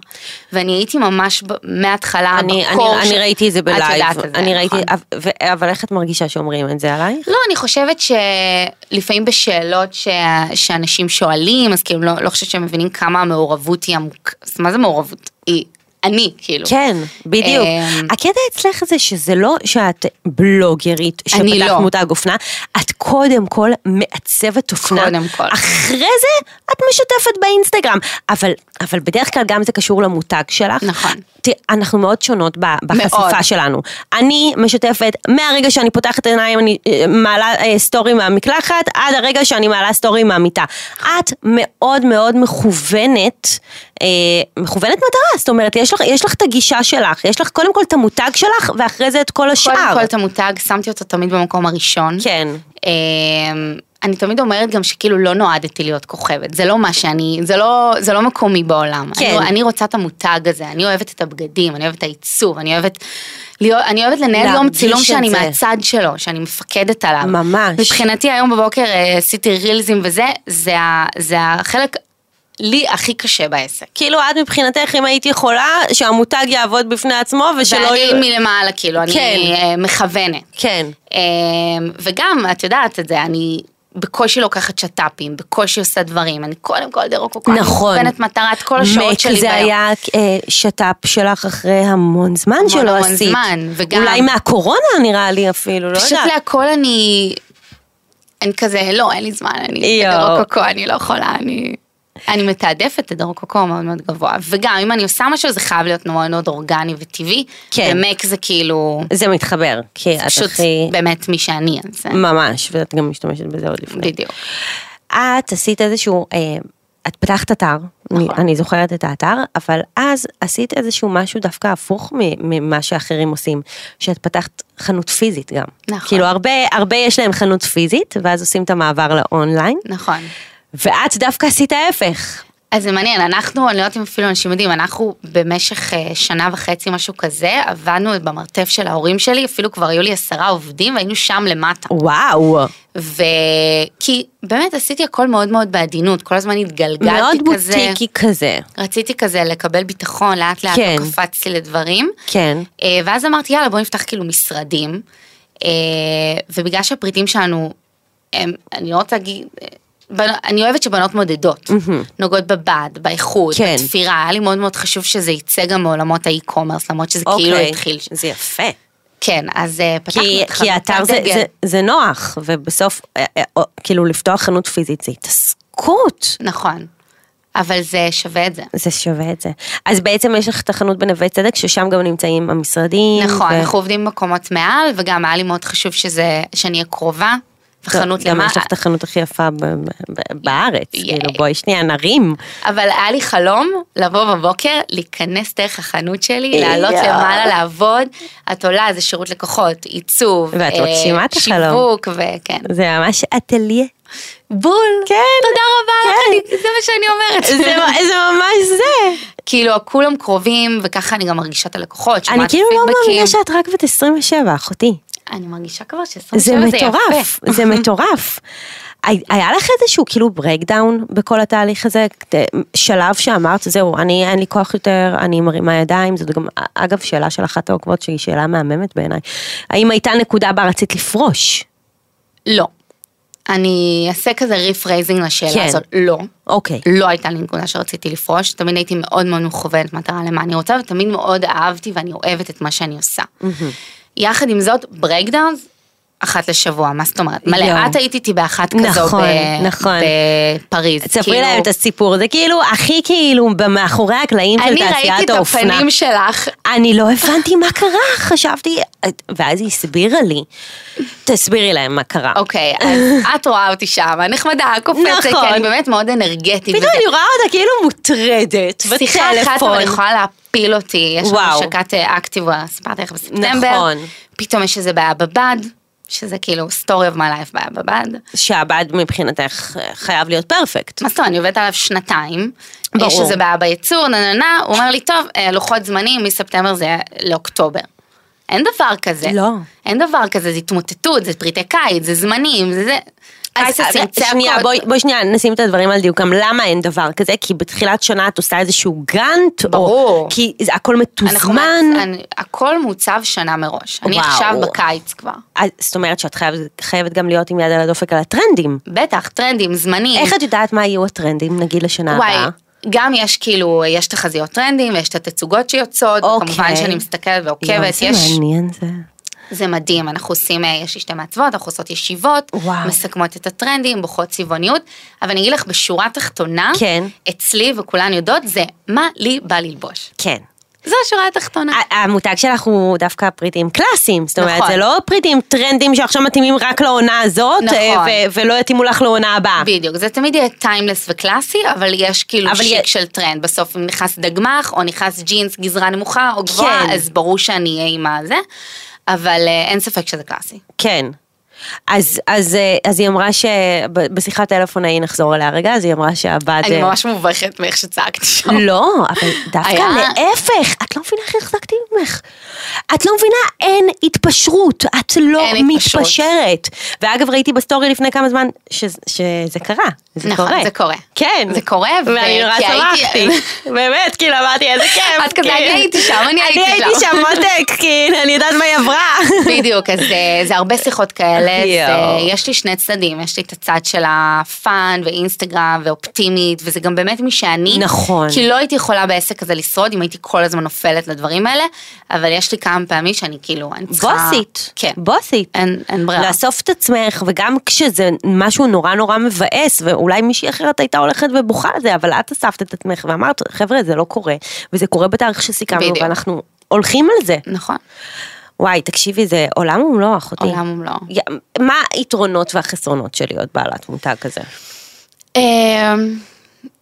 Speaker 2: ואני הייתי ממש ב- מההתחלה
Speaker 1: אני, אני,
Speaker 2: בקור
Speaker 1: אני ראיתי את זה
Speaker 2: את
Speaker 1: בלייב,
Speaker 2: יודעת את זה,
Speaker 1: אני ראיתי,
Speaker 2: נכון.
Speaker 1: אב- ו- אבל איך את מרגישה שאומרים את זה עלייך?
Speaker 2: לא, אני חושבת שלפעמים בשאלות ש... שאנשים שואלים, אז כאילו לא, לא חושבת שהם מבינים כמה המעורבות היא עמוקה. אז מה זה מעורבות? היא אני, כאילו.
Speaker 1: כן, בדיוק.
Speaker 2: אמ,
Speaker 1: הקטע אצלך זה שזה לא שאת בלוגרית
Speaker 2: אני
Speaker 1: שפתחת
Speaker 2: לא.
Speaker 1: מותג אופנה, את קודם כל מעצבת אופנה.
Speaker 2: קודם כל.
Speaker 1: אחרי זה את משתפת באינסטגרם. אבל, אבל בדרך כלל גם זה קשור למותג שלך.
Speaker 2: נכון.
Speaker 1: תראה, אנחנו מאוד שונות ב- בחשיפה
Speaker 2: מאוד.
Speaker 1: שלנו. אני משתפת מהרגע שאני פותחת עיניים, אני אה, מעלה אה, סטורי מהמקלחת, עד הרגע שאני מעלה סטורי מהמיטה. את מאוד מאוד מכוונת, אה, מכוונת מטרה, זאת אומרת, יש לך, יש לך את הגישה שלך, יש לך קודם כל את המותג שלך, ואחרי זה את כל השאר.
Speaker 2: קודם כל את המותג, שמתי אותו תמיד במקום הראשון.
Speaker 1: כן.
Speaker 2: אמ, אני תמיד אומרת גם שכאילו לא נועדתי להיות כוכבת, זה לא מה שאני, זה לא, זה לא מקומי בעולם.
Speaker 1: כן.
Speaker 2: אני, אני רוצה את המותג הזה, אני אוהבת את הבגדים, אני אוהבת את העיצוב, אני אוהבת, להיות, אני אוהבת לנהל יום
Speaker 1: להרגיש
Speaker 2: צילום
Speaker 1: את
Speaker 2: שאני
Speaker 1: זה.
Speaker 2: מהצד שלו, שאני מפקדת עליו.
Speaker 1: ממש.
Speaker 2: מבחינתי היום בבוקר אה, עשיתי רילזים וזה, זה, ה- זה החלק לי הכי קשה בעסק.
Speaker 1: כאילו את מבחינתך, אם היית יכולה, שהמותג יעבוד בפני עצמו ושלא...
Speaker 2: ואני
Speaker 1: יהיו-
Speaker 2: מלמעלה, כאילו, אני
Speaker 1: כן.
Speaker 2: אה, מכוונת.
Speaker 1: כן.
Speaker 2: אמ, וגם, את יודעת את זה, אני בקושי לוקחת שת"פים, בקושי עושה דברים, אני קודם כל דרוקוקו,
Speaker 1: נכון.
Speaker 2: אני מכוונת מטרה את כל השעות שלי
Speaker 1: מק זה
Speaker 2: ביום.
Speaker 1: היה אה, שת"פ שלך אחרי המון זמן
Speaker 2: המון
Speaker 1: שלא
Speaker 2: המון
Speaker 1: עשית.
Speaker 2: זמן, וגם-
Speaker 1: אולי מהקורונה נראה לי אפילו, לא
Speaker 2: פשוט
Speaker 1: יודעת.
Speaker 2: להכל אני, אני כזה, לא, אין לי זמן, אני
Speaker 1: יואו.
Speaker 2: דרוקוקו, אני לא יכולה, אני... אני מתעדפת את דרוקוקו מאוד מאוד גבוה, וגם אם אני עושה משהו זה חייב להיות מאוד מאוד אורגני וטבעי,
Speaker 1: כן.
Speaker 2: ומק זה כאילו,
Speaker 1: זה מתחבר, כי את
Speaker 2: פשוט
Speaker 1: הכי...
Speaker 2: באמת מי שאני, אז זה
Speaker 1: ממש, ואת גם משתמשת בזה עוד לפני.
Speaker 2: בדיוק.
Speaker 1: את עשית איזשהו... אה, את פתחת אתר,
Speaker 2: נכון.
Speaker 1: אני, אני זוכרת את האתר, אבל אז עשית איזשהו משהו דווקא הפוך מ- ממה שאחרים עושים, שאת פתחת חנות פיזית גם.
Speaker 2: נכון.
Speaker 1: כאילו הרבה, הרבה יש להם חנות פיזית, ואז עושים את המעבר לאונליין,
Speaker 2: נכון.
Speaker 1: ואת דווקא עשית ההפך.
Speaker 2: אז זה מעניין, אנחנו, אני לא יודעת אם אפילו אנשים יודעים, אנחנו במשך אה, שנה וחצי, משהו כזה, עבדנו במרתף של ההורים שלי, אפילו כבר היו לי עשרה עובדים והיינו שם למטה.
Speaker 1: וואו.
Speaker 2: וכי באמת עשיתי הכל מאוד מאוד בעדינות, כל הזמן התגלגלתי כזה.
Speaker 1: מאוד בוטיקי כזה.
Speaker 2: רציתי כזה לקבל ביטחון, לאט לאט
Speaker 1: כן.
Speaker 2: כן. קפצתי לדברים.
Speaker 1: כן.
Speaker 2: אה, ואז אמרתי, יאללה, בוא נפתח כאילו משרדים. אה, ובגלל שהפריטים שלנו, הם, אני לא רוצה להגיד, אה, בנ- אני אוהבת שבנות מודדות, נוגעות בבד, באיכות,
Speaker 1: כן.
Speaker 2: בתפירה, היה לי מאוד מאוד חשוב שזה יצא גם מעולמות האי-קומרס, למרות שזה כאילו
Speaker 1: אוקיי.
Speaker 2: התחיל.
Speaker 1: זה יפה.
Speaker 2: כן, אז אה, פתחנו
Speaker 1: כי,
Speaker 2: את
Speaker 1: כי
Speaker 2: חנות
Speaker 1: האתר זה,
Speaker 2: הדגל.
Speaker 1: זה, זה נוח, ובסוף, אה, אה, אה, כאילו לפתוח חנות פיזית זה התעסקות.
Speaker 2: נכון, אבל זה שווה את זה.
Speaker 1: זה שווה את זה. אז בעצם יש לך את החנות בנווה צדק, ששם גם נמצאים המשרדים.
Speaker 2: נכון,
Speaker 1: ו-
Speaker 2: אנחנו עובדים במקומות מעל, וגם היה לי מאוד חשוב שזה, שאני אהיה קרובה,
Speaker 1: טוב,
Speaker 2: וחנות
Speaker 1: גם
Speaker 2: למעלה.
Speaker 1: יש לך את החנות הכי יפה ב- ב- ב- בארץ,
Speaker 2: ייי.
Speaker 1: כאילו בואי שנייה נרים.
Speaker 2: אבל היה לי חלום לבוא בבוקר, להיכנס דרך החנות שלי, לעלות
Speaker 1: יואו.
Speaker 2: למעלה, לעבוד. את עולה, זה שירות לקוחות, עיצוב,
Speaker 1: ואת
Speaker 2: אה,
Speaker 1: מגשימה את החלום.
Speaker 2: שיווק, וכן.
Speaker 1: זה ממש אטליה.
Speaker 2: בול.
Speaker 1: כן.
Speaker 2: תודה רבה לך,
Speaker 1: כן.
Speaker 2: אני- זה מה שאני אומרת.
Speaker 1: זה זה ממש זה.
Speaker 2: כאילו, כולם קרובים, וככה אני גם מרגישה את הלקוחות, שומעת
Speaker 1: אני כאילו לא
Speaker 2: פידבקים.
Speaker 1: מאמינה שאת רק בת 27, אחותי.
Speaker 2: אני מרגישה כבר
Speaker 1: זה
Speaker 2: ש-27 זה יפה.
Speaker 1: מטורף, זה מטורף. הי- היה לך איזשהו כאילו ברקדאון בכל התהליך הזה? כת- שלב שאמרת, זהו, אני אין לי כוח יותר, אני מרימה ידיים, זאת גם, אגב, שאלה של אחת העוקבות שהיא שאלה מהממת בעיניי. האם הייתה נקודה בה רצית לפרוש?
Speaker 2: לא. אני אעשה כזה ריף רייזינג לשאלה
Speaker 1: כן.
Speaker 2: הזאת. לא.
Speaker 1: אוקיי.
Speaker 2: לא הייתה לי נקודה שרציתי לפרוש, תמיד הייתי מאוד מאוד מכוונת מטרה למה אני רוצה, ותמיד מאוד אהבתי ואני אוהבת את מה שאני עושה. יחד עם זאת, ברייקדאונס, אחת לשבוע, מה זאת אומרת?
Speaker 1: יואו.
Speaker 2: מלא, את היית איתי באחת כזו
Speaker 1: נכון,
Speaker 2: ב-
Speaker 1: נכון.
Speaker 2: בפריז.
Speaker 1: תספרי
Speaker 2: כאילו,
Speaker 1: להם את הסיפור, זה כאילו הכי כאילו מאחורי הקלעים של
Speaker 2: אני ראיתי
Speaker 1: תעשיית
Speaker 2: את
Speaker 1: האופנה.
Speaker 2: הפנים שלך,
Speaker 1: אני לא הבנתי מה קרה, חשבתי, ואז היא הסבירה לי. תסבירי להם מה קרה.
Speaker 2: אוקיי, אז את רואה אותי שם, נחמדה, קופצת, כי
Speaker 1: נכון.
Speaker 2: אני באמת מאוד אנרגטית.
Speaker 1: פתאום
Speaker 2: וזה-
Speaker 1: אני רואה אותה כאילו מוטרדת
Speaker 2: שיחה אחת אבל
Speaker 1: בטלפון.
Speaker 2: יכולה להפיל אותי, יש לנו
Speaker 1: וואו.
Speaker 2: השקת אה, אקטיבה, סיפרתי לך בספטמבר,
Speaker 1: נכון.
Speaker 2: פתאום יש איזה בעיה בבד, שזה כאילו story of my life בעיה בבד,
Speaker 1: שהבד מבחינתך אה, חייב להיות פרפקט.
Speaker 2: מה זאת אומרת, אני עובדת עליו שנתיים,
Speaker 1: ברור.
Speaker 2: יש איזה בעיה בייצור, נה נה נה, הוא אומר לי, טוב, אה, לוחות זמנים מספטמבר זה לאוקטובר. אין דבר כזה.
Speaker 1: לא.
Speaker 2: אין דבר כזה, זה התמוטטות, זה פריטי קיץ, זה זמנים, זה זה.
Speaker 1: אז אה,
Speaker 2: קרייססים,
Speaker 1: שנייה,
Speaker 2: צעקות.
Speaker 1: בואי בואי שנייה נשים את הדברים על דיוקם, למה אין דבר כזה? כי בתחילת שנה את עושה איזשהו גאנט, או-
Speaker 2: ברור.
Speaker 1: כי זה הכל
Speaker 2: אנחנו-
Speaker 1: מתוזמן,
Speaker 2: אני- הכל מוצב שנה מראש. אני
Speaker 1: וואו.
Speaker 2: עכשיו בקיץ כבר.
Speaker 1: אז זאת אומרת שאת חייבת- חייבת גם להיות עם יד על הדופק על הטרנדים.
Speaker 2: בטח, טרנדים, זמנים.
Speaker 1: איך את יודעת מה יהיו הטרנדים, נגיד לשנה
Speaker 2: וואי,
Speaker 1: הבאה?
Speaker 2: גם יש כאילו, יש תחזיות טרנדים, יש את התצוגות שיוצאות,
Speaker 1: אוקיי.
Speaker 2: כמובן שאני מסתכלת
Speaker 1: יואו,
Speaker 2: ועוקבת,
Speaker 1: זה
Speaker 2: יש,
Speaker 1: מעניין זה.
Speaker 2: זה מדהים, אנחנו עושים, אה, יש לי שתי מעצבות, אנחנו עושות ישיבות,
Speaker 1: וואו.
Speaker 2: מסכמות את הטרנדים, בוחרות צבעוניות, אבל אני אגיד לך, בשורה התחתונה,
Speaker 1: כן.
Speaker 2: אצלי וכולן יודעות, זה מה לי בא ללבוש.
Speaker 1: כן.
Speaker 2: זו השורה התחתונה.
Speaker 1: ה- המותג שלך הוא דווקא פריטים קלאסיים, זאת אומרת,
Speaker 2: נכון.
Speaker 1: זה לא פריטים טרנדים שעכשיו מתאימים רק לעונה הזאת,
Speaker 2: נכון.
Speaker 1: אה, ו- ולא יתאימו לך לעונה הבאה.
Speaker 2: בדיוק, זה תמיד יהיה טיימלס וקלאסי, אבל יש כאילו
Speaker 1: אבל
Speaker 2: אבל שיק
Speaker 1: יה-
Speaker 2: של טרנד. בסוף אם נכנס דגמח, או נכנס ג'ינס גזרה נמוכה או גבוהה,
Speaker 1: כן.
Speaker 2: אז ברור שאני אהיה עם הזה, אבל אה, אין ספק שזה קלאסי.
Speaker 1: כן. אז, אז, אה, אז היא אמרה שבשיחת טלפון ההיא נחזור אליה רגע, אז היא אמרה שהבת...
Speaker 2: אני
Speaker 1: אה,
Speaker 2: ממש מובכת מאיך שצעקתי שם.
Speaker 1: לא, אבל דווקא
Speaker 2: היה-
Speaker 1: להפך, את לא מבינה איך החזקתי ממך. את לא מבינה, אין התפשרות, את לא
Speaker 2: אין התפשרות.
Speaker 1: מתפשרת. ואגב, ראיתי בסטורי לפני כמה זמן ש, שזה קרה, זה
Speaker 2: נכון,
Speaker 1: קורה.
Speaker 2: זה קורה.
Speaker 1: כן.
Speaker 2: זה קורה,
Speaker 1: ואני
Speaker 2: ו-
Speaker 1: נורא
Speaker 2: כי הייתי-
Speaker 1: צמחתי. באמת, כאילו אמרתי, איזה כיף.
Speaker 2: את כזה,
Speaker 1: כאילו.
Speaker 2: אני הייתי שם, אני הייתי
Speaker 1: אני הייתי
Speaker 2: שם.
Speaker 1: שם מותק, כאילו, אני יודעת מה היא עברה.
Speaker 2: בדיוק, אז אה, זה הרבה שיחות כאלה,
Speaker 1: יואו.
Speaker 2: זה- יש לי שני צדדים, יש לי את הצד של הפאן ואינסטגרם ואופטימית, וזה גם באמת מי שאני,
Speaker 1: נכון.
Speaker 2: כי לא הייתי יכולה בעסק הזה לשרוד אם הייתי כל הזמן נופלת לדברים האלה, אבל יש לי כמה פעמים שאני כאילו, אני צריכה...
Speaker 1: בוסית,
Speaker 2: כן.
Speaker 1: בוסית.
Speaker 2: אין אין ברירה.
Speaker 1: לאסוף את עצמך, וגם כשזה משהו נורא נורא מבאס, ואולי מישהי אחרת הייתה הולכת ובוכה על זה, אבל את אספת את עצמך ואמרת, חבר'ה, זה לא קורה, וזה קורה בתאריך שסיכמנו,
Speaker 2: בדיוק.
Speaker 1: ואנחנו הולכים על זה.
Speaker 2: נכון,
Speaker 1: וואי, תקשיבי, זה עולם ומלואו, אחותי.
Speaker 2: עולם ומלואו.
Speaker 1: יא, מה היתרונות והחסרונות של להיות בעלת מותג כזה?
Speaker 2: אמ,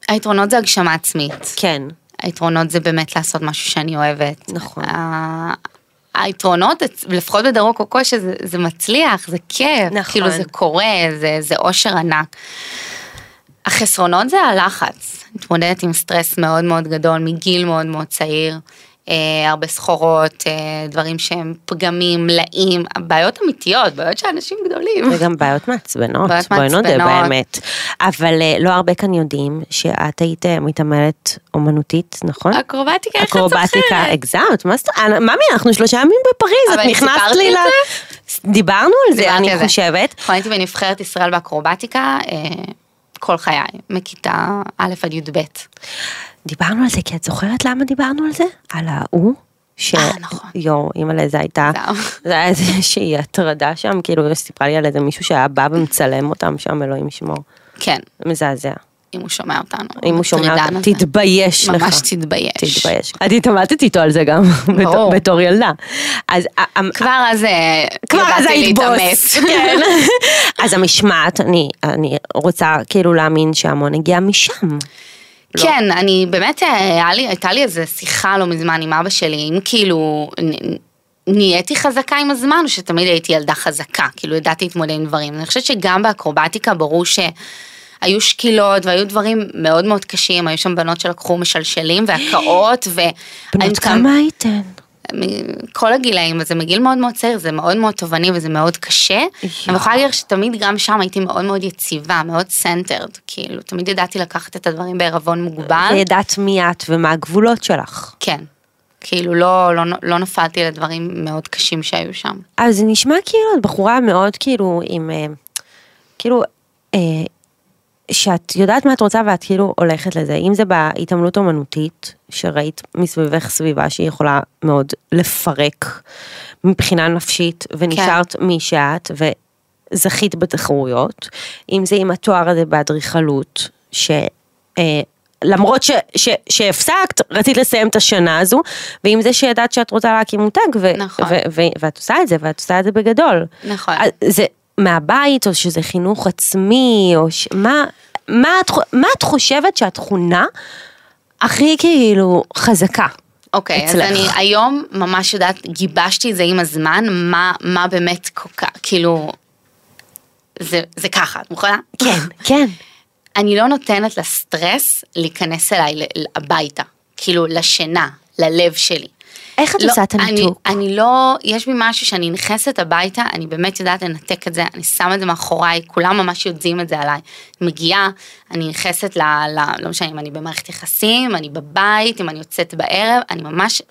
Speaker 2: היתרונות זה הגשמה עצמית.
Speaker 1: כן.
Speaker 2: היתרונות זה באמת לעשות משהו שאני אוהבת.
Speaker 1: נכון.
Speaker 2: ה- היתרונות, לפחות בדרום קוקו, שזה זה מצליח, זה כיף.
Speaker 1: נכון.
Speaker 2: כאילו זה קורה, זה, זה אושר ענק. החסרונות זה הלחץ. מתמודדת עם סטרס מאוד מאוד גדול מגיל מאוד מאוד צעיר. אה, הרבה סחורות, אה, דברים שהם פגמים, מלאים, בעיות אמיתיות, בעיות שאנשים גדולים.
Speaker 1: וגם בעיות מעצבנות,
Speaker 2: בעיות
Speaker 1: בואי נודה
Speaker 2: מעצבנות.
Speaker 1: באמת. אבל אה, לא הרבה כאן יודעים שאת היית אה, מתעמלת אומנותית, נכון?
Speaker 2: אה, אקרובטיקה, איך את כן, זוכרת?
Speaker 1: אקרובטיקה, הגזמת, מה זאת, אה, ממי, אנחנו שלושה ימים בפריז,
Speaker 2: אבל
Speaker 1: את נכנסת
Speaker 2: סיפרתי
Speaker 1: לי
Speaker 2: את
Speaker 1: ל... דיברנו על זה,
Speaker 2: דיברתי על
Speaker 1: אני
Speaker 2: זה.
Speaker 1: חושבת.
Speaker 2: נכון, הייתי בנבחרת ישראל באקרובטיקה אה, כל חיי, מכיתה א' עד י"ב.
Speaker 1: דיברנו על זה, כי את זוכרת למה דיברנו על זה? על ההוא? ש...
Speaker 2: אה, נכון.
Speaker 1: יואו, אימא'לה, זה הייתה,
Speaker 2: זהו.
Speaker 1: זה היה איזושהי הטרדה שם, כאילו, סיפרה לי על איזה מישהו שהיה בא ומצלם אותם שם, אלוהים ישמור.
Speaker 2: כן,
Speaker 1: מזעזע.
Speaker 2: אם הוא שומע אותנו.
Speaker 1: אם הוא שומע,
Speaker 2: המטרידן
Speaker 1: אותה,
Speaker 2: הזה.
Speaker 1: תתבייש לך.
Speaker 2: ממש תתבייש.
Speaker 1: תתבייש. את התעמתת איתו על זה גם, בתור-
Speaker 2: ברור.
Speaker 1: בתור ילדה. אז אמ, ה- ה-
Speaker 2: כבר אז אה,
Speaker 1: כבר אז
Speaker 2: ידעתי
Speaker 1: היית בוס.
Speaker 2: להתאמץ.
Speaker 1: כן. אז המשמעת, אני- אני רוצה כאילו להאמין שהמון הגיע משם.
Speaker 2: כן, אני באמת, אה, היה לי- הייתה לי איזו שיחה לא מזמן עם אבא שלי, אם כאילו... נ- נהייתי חזקה עם הזמן, או שתמיד הייתי ילדה חזקה, כאילו ידעתי להתמודד עם דברים. אני חושבת שגם באקרובטיקה ברור שהיו שקילות והיו דברים מאוד מאוד קשים, היו שם בנות שלקחו משלשלים והקאות, ו...
Speaker 1: בנות כמה הייתן?
Speaker 2: מכל הגילאים, וזה מגיל מאוד מאוד צעיר, זה מאוד מאוד תובעני וזה מאוד קשה. אני יכולה להגיד לך שתמיד גם שם הייתי מאוד מאוד יציבה, מאוד סנטרד, כאילו, תמיד ידעתי לקחת את הדברים בערבון מוגבל.
Speaker 1: וידעת מי את ומה הגבולות שלך.
Speaker 2: כן. כאילו לא, לא, לא נפלתי לדברים מאוד קשים שהיו שם.
Speaker 1: אז זה נשמע כאילו את בחורה מאוד כאילו עם, אה, כאילו, אה, שאת יודעת מה את רוצה ואת כאילו הולכת לזה, אם זה בהתעמלות אומנותית, שראית מסביבך סביבה שהיא יכולה מאוד לפרק מבחינה נפשית, ונשארת מי שאת, וזכית בתחרויות, אם זה עם התואר הזה באדריכלות, ש... אה, למרות ש, ש, שהפסקת, רצית לסיים את השנה הזו, ועם זה שידעת שאת רוצה להקים מותג, ו,
Speaker 2: נכון.
Speaker 1: ו, ו, ואת עושה את זה, ואת עושה את זה בגדול.
Speaker 2: נכון.
Speaker 1: אז זה מהבית, או שזה חינוך עצמי, או ש... מה, מה, את, חו- מה את חושבת שהתכונה הכי כאילו חזקה?
Speaker 2: אוקיי, אז
Speaker 1: אצלך.
Speaker 2: אני היום ממש יודעת, גיבשתי את זה עם הזמן, מה, מה באמת כל כך, כאילו, זה, זה ככה, את מוכנה?
Speaker 1: כן, כן.
Speaker 2: אני לא נותנת לסטרס להיכנס אליי ל- הביתה, כאילו לשינה, ללב שלי.
Speaker 1: איך את
Speaker 2: לא,
Speaker 1: עושה את הניתוק?
Speaker 2: אני, אני לא, יש בי משהו שאני נכנסת הביתה, אני באמת יודעת לנתק את זה, אני שמה את זה מאחוריי, כולם ממש יודעים את זה עליי. מגיעה, אני נכנסת ל... ל לא משנה אם אני במערכת יחסים, אני בבית, אם אני יוצאת בערב, אני ממש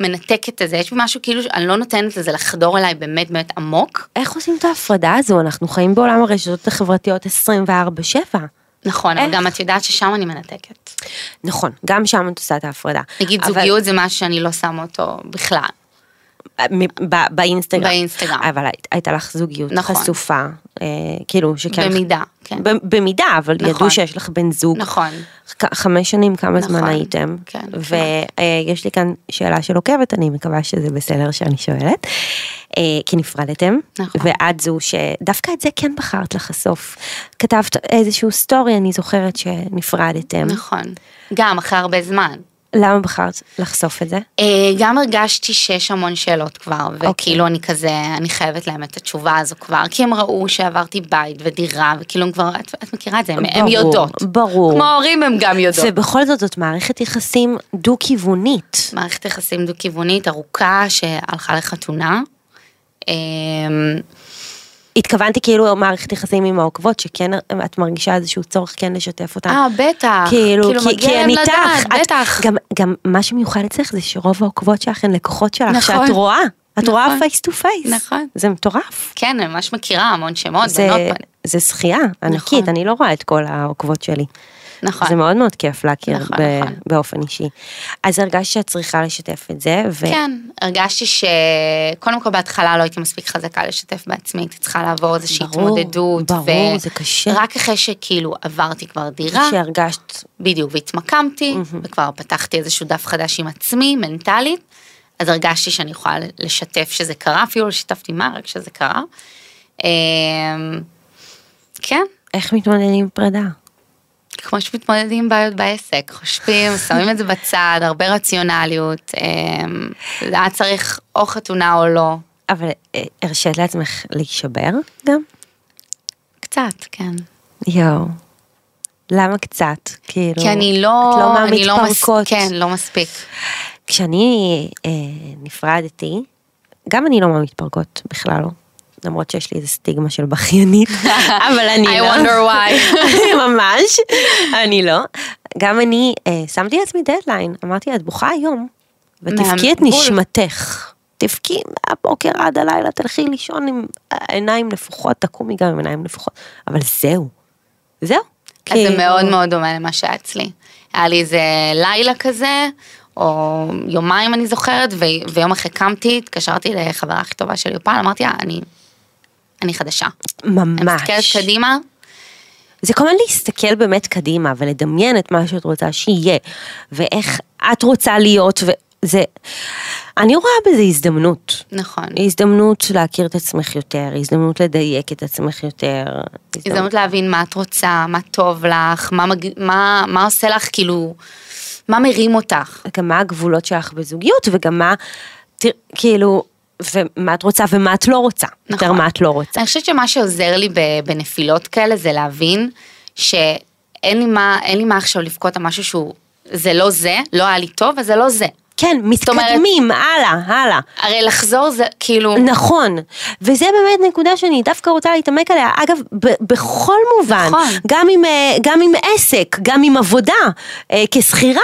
Speaker 2: מנתקת את זה, יש בי משהו כאילו, אני לא נותנת לזה לחדור אליי באמת באמת עמוק.
Speaker 1: איך עושים את ההפרדה הזו? אנחנו חיים בעולם הרשתות החברתיות 24-7.
Speaker 2: נכון, אבל
Speaker 1: איך?
Speaker 2: גם את יודעת ששם אני מנתקת.
Speaker 1: נכון, גם שם את עושה את ההפרדה.
Speaker 2: נגיד
Speaker 1: אבל-
Speaker 2: זוגיות זה משהו שאני לא שמה אותו בכלל.
Speaker 1: מ- ב- באינסטגרם.
Speaker 2: באינסטגרם.
Speaker 1: אבל היית- הייתה לך זוגיות
Speaker 2: נכון.
Speaker 1: חשופה, אה, כאילו שכן.
Speaker 2: במידה, כן.
Speaker 1: ב- במידה, אבל
Speaker 2: נכון.
Speaker 1: ידעו שיש לך בן זוג.
Speaker 2: נכון.
Speaker 1: ח- חמש שנים, כמה
Speaker 2: נכון.
Speaker 1: זמן הייתם?
Speaker 2: כן,
Speaker 1: ויש לי כאן שאלה של עוקבת, אני מקווה שזה בסדר שאני שואלת. אה, כי נפרדתם,
Speaker 2: נכון.
Speaker 1: ואת זו שדווקא את זה כן בחרת לחשוף. כתבת איזשהו סטורי, אני זוכרת שנפרדתם.
Speaker 2: נכון. גם אחרי הרבה זמן.
Speaker 1: למה בחרת לחשוף את זה?
Speaker 2: אה, גם הרגשתי שיש המון שאלות כבר, וכאילו אני כזה, אני חייבת להם את התשובה הזו כבר, כי הם ראו שעברתי בית ודירה, וכאילו הם כבר, את, את מכירה את זה, הם, הם
Speaker 1: ברור,
Speaker 2: יודעות.
Speaker 1: ברור.
Speaker 2: כמו ההורים הם גם יודעות.
Speaker 1: ובכל זאת זאת מערכת יחסים דו-כיוונית.
Speaker 2: מערכת יחסים דו-כיוונית ארוכה שהלכה לחתונה. אה,
Speaker 1: התכוונתי כאילו מערכת יחסים עם העוקבות, שכן את מרגישה איזשהו צורך כן לשתף אותם.
Speaker 2: אה, בטח.
Speaker 1: כאילו, כי,
Speaker 2: מגיע
Speaker 1: כי
Speaker 2: להם
Speaker 1: הן איתך,
Speaker 2: לדעת,
Speaker 1: את-
Speaker 2: בטח.
Speaker 1: גם, גם מה שמיוחד אצלך זה שרוב העוקבות שלך הן לקוחות שלך,
Speaker 2: נכון.
Speaker 1: שאת רואה, את
Speaker 2: נכון.
Speaker 1: רואה פייס טו פייס,
Speaker 2: נכון.
Speaker 1: זה מטורף,
Speaker 2: כן, אני ממש מכירה המון שמות,
Speaker 1: זה,
Speaker 2: בנות, בנ-
Speaker 1: זה זכייה ענקית,
Speaker 2: נכון.
Speaker 1: אני לא רואה את כל העוקבות שלי,
Speaker 2: נכון.
Speaker 1: זה מאוד מאוד כיף להכיר
Speaker 2: נכון,
Speaker 1: ב,
Speaker 2: נכון.
Speaker 1: באופן אישי, אז הרגשת שאת צריכה לשתף את זה, ו...
Speaker 2: כן, הרגשתי שקודם כל בהתחלה לא הייתי מספיק חזקה לשתף בעצמי, הייתי צריכה לעבור איזושהי
Speaker 1: ברור,
Speaker 2: התמודדות.
Speaker 1: ברור, זה קשה.
Speaker 2: רק אחרי שכאילו עברתי כבר דירה,
Speaker 1: שהרגשת,
Speaker 2: בדיוק, והתמקמתי, וכבר פתחתי איזשהו דף חדש עם עצמי, מנטלית, אז הרגשתי שאני יכולה לשתף שזה קרה, אפילו לא שיתפתי מה, רק שזה קרה. אמ, כן,
Speaker 1: איך מתמודדים עם פרידה?
Speaker 2: כמו שמתמודדים עם בעיות בעסק, חושבים, שמים את זה בצד, הרבה רציונליות, אמ, היה צריך או חתונה או לא.
Speaker 1: אבל אה, הרשית לעצמך להישבר גם?
Speaker 2: קצת, כן.
Speaker 1: יואו. למה קצת? כאילו,
Speaker 2: כי אני לא,
Speaker 1: את לא
Speaker 2: אני לא
Speaker 1: מהמתפרקות.
Speaker 2: כן, לא מספיק.
Speaker 1: כשאני אה, נפרדתי, גם אני לא מהמתפרקות בכלל לא. למרות שיש לי איזה סטיגמה של בכיינית, אבל אני
Speaker 2: I
Speaker 1: לא.
Speaker 2: wonder why.
Speaker 1: ממש, אני לא. גם אני אה, שמתי לעצמי דדליין, אמרתי, את בוכה היום, ותבכי את
Speaker 2: מהבול.
Speaker 1: נשמתך. תבכי מהבוקר עד הלילה, תלכי לישון עם עיניים נפוחות, תקומי גם עם עיניים נפוחות, אבל זהו. זהו.
Speaker 2: אז זה
Speaker 1: כאילו,
Speaker 2: מאוד מאוד דומה למה שהיה אצלי. היה לי איזה לילה כזה, או יומיים אני זוכרת, ו- ויום אחרי קמתי, התקשרתי לחברה הכי טובה שלי בפעם, אמרתי לה, אני, אני חדשה. אני מסתכלת
Speaker 1: ממש.
Speaker 2: כן, קדימה,
Speaker 1: זה כל הזמן להסתכל באמת קדימה ולדמיין את מה שאת רוצה שיהיה, ואיך את רוצה להיות, וזה... אני רואה בזה הזדמנות.
Speaker 2: נכון.
Speaker 1: הזדמנות להכיר את עצמך יותר, הזדמנות לדייק את עצמך יותר.
Speaker 2: הזדמנות להבין מה את רוצה, מה טוב לך, מה, מג... מה, מה עושה לך, כאילו, מה מרים אותך.
Speaker 1: גם מה הגבולות שלך בזוגיות, וגם מה, תר, כאילו, ומה את רוצה ומה את לא רוצה.
Speaker 2: נכון.
Speaker 1: יותר מה את לא רוצה.
Speaker 2: אני חושבת שמה שעוזר לי ב- בנפילות כאלה זה להבין שאין לי מה, אין לי מה עכשיו לבכות על משהו שהוא, זה לא זה, לא היה לי טוב, אז זה לא זה.
Speaker 1: כן,
Speaker 2: אומרת-
Speaker 1: מתקדמים, הלאה, הלאה.
Speaker 2: הרי לחזור זה כאילו,
Speaker 1: נכון, וזה באמת נקודה שאני דווקא רוצה להתעמק עליה, אגב, ב- בכל מובן,
Speaker 2: נכון.
Speaker 1: גם, עם, אה, גם עם עסק, גם עם עבודה, אה, כשכירה,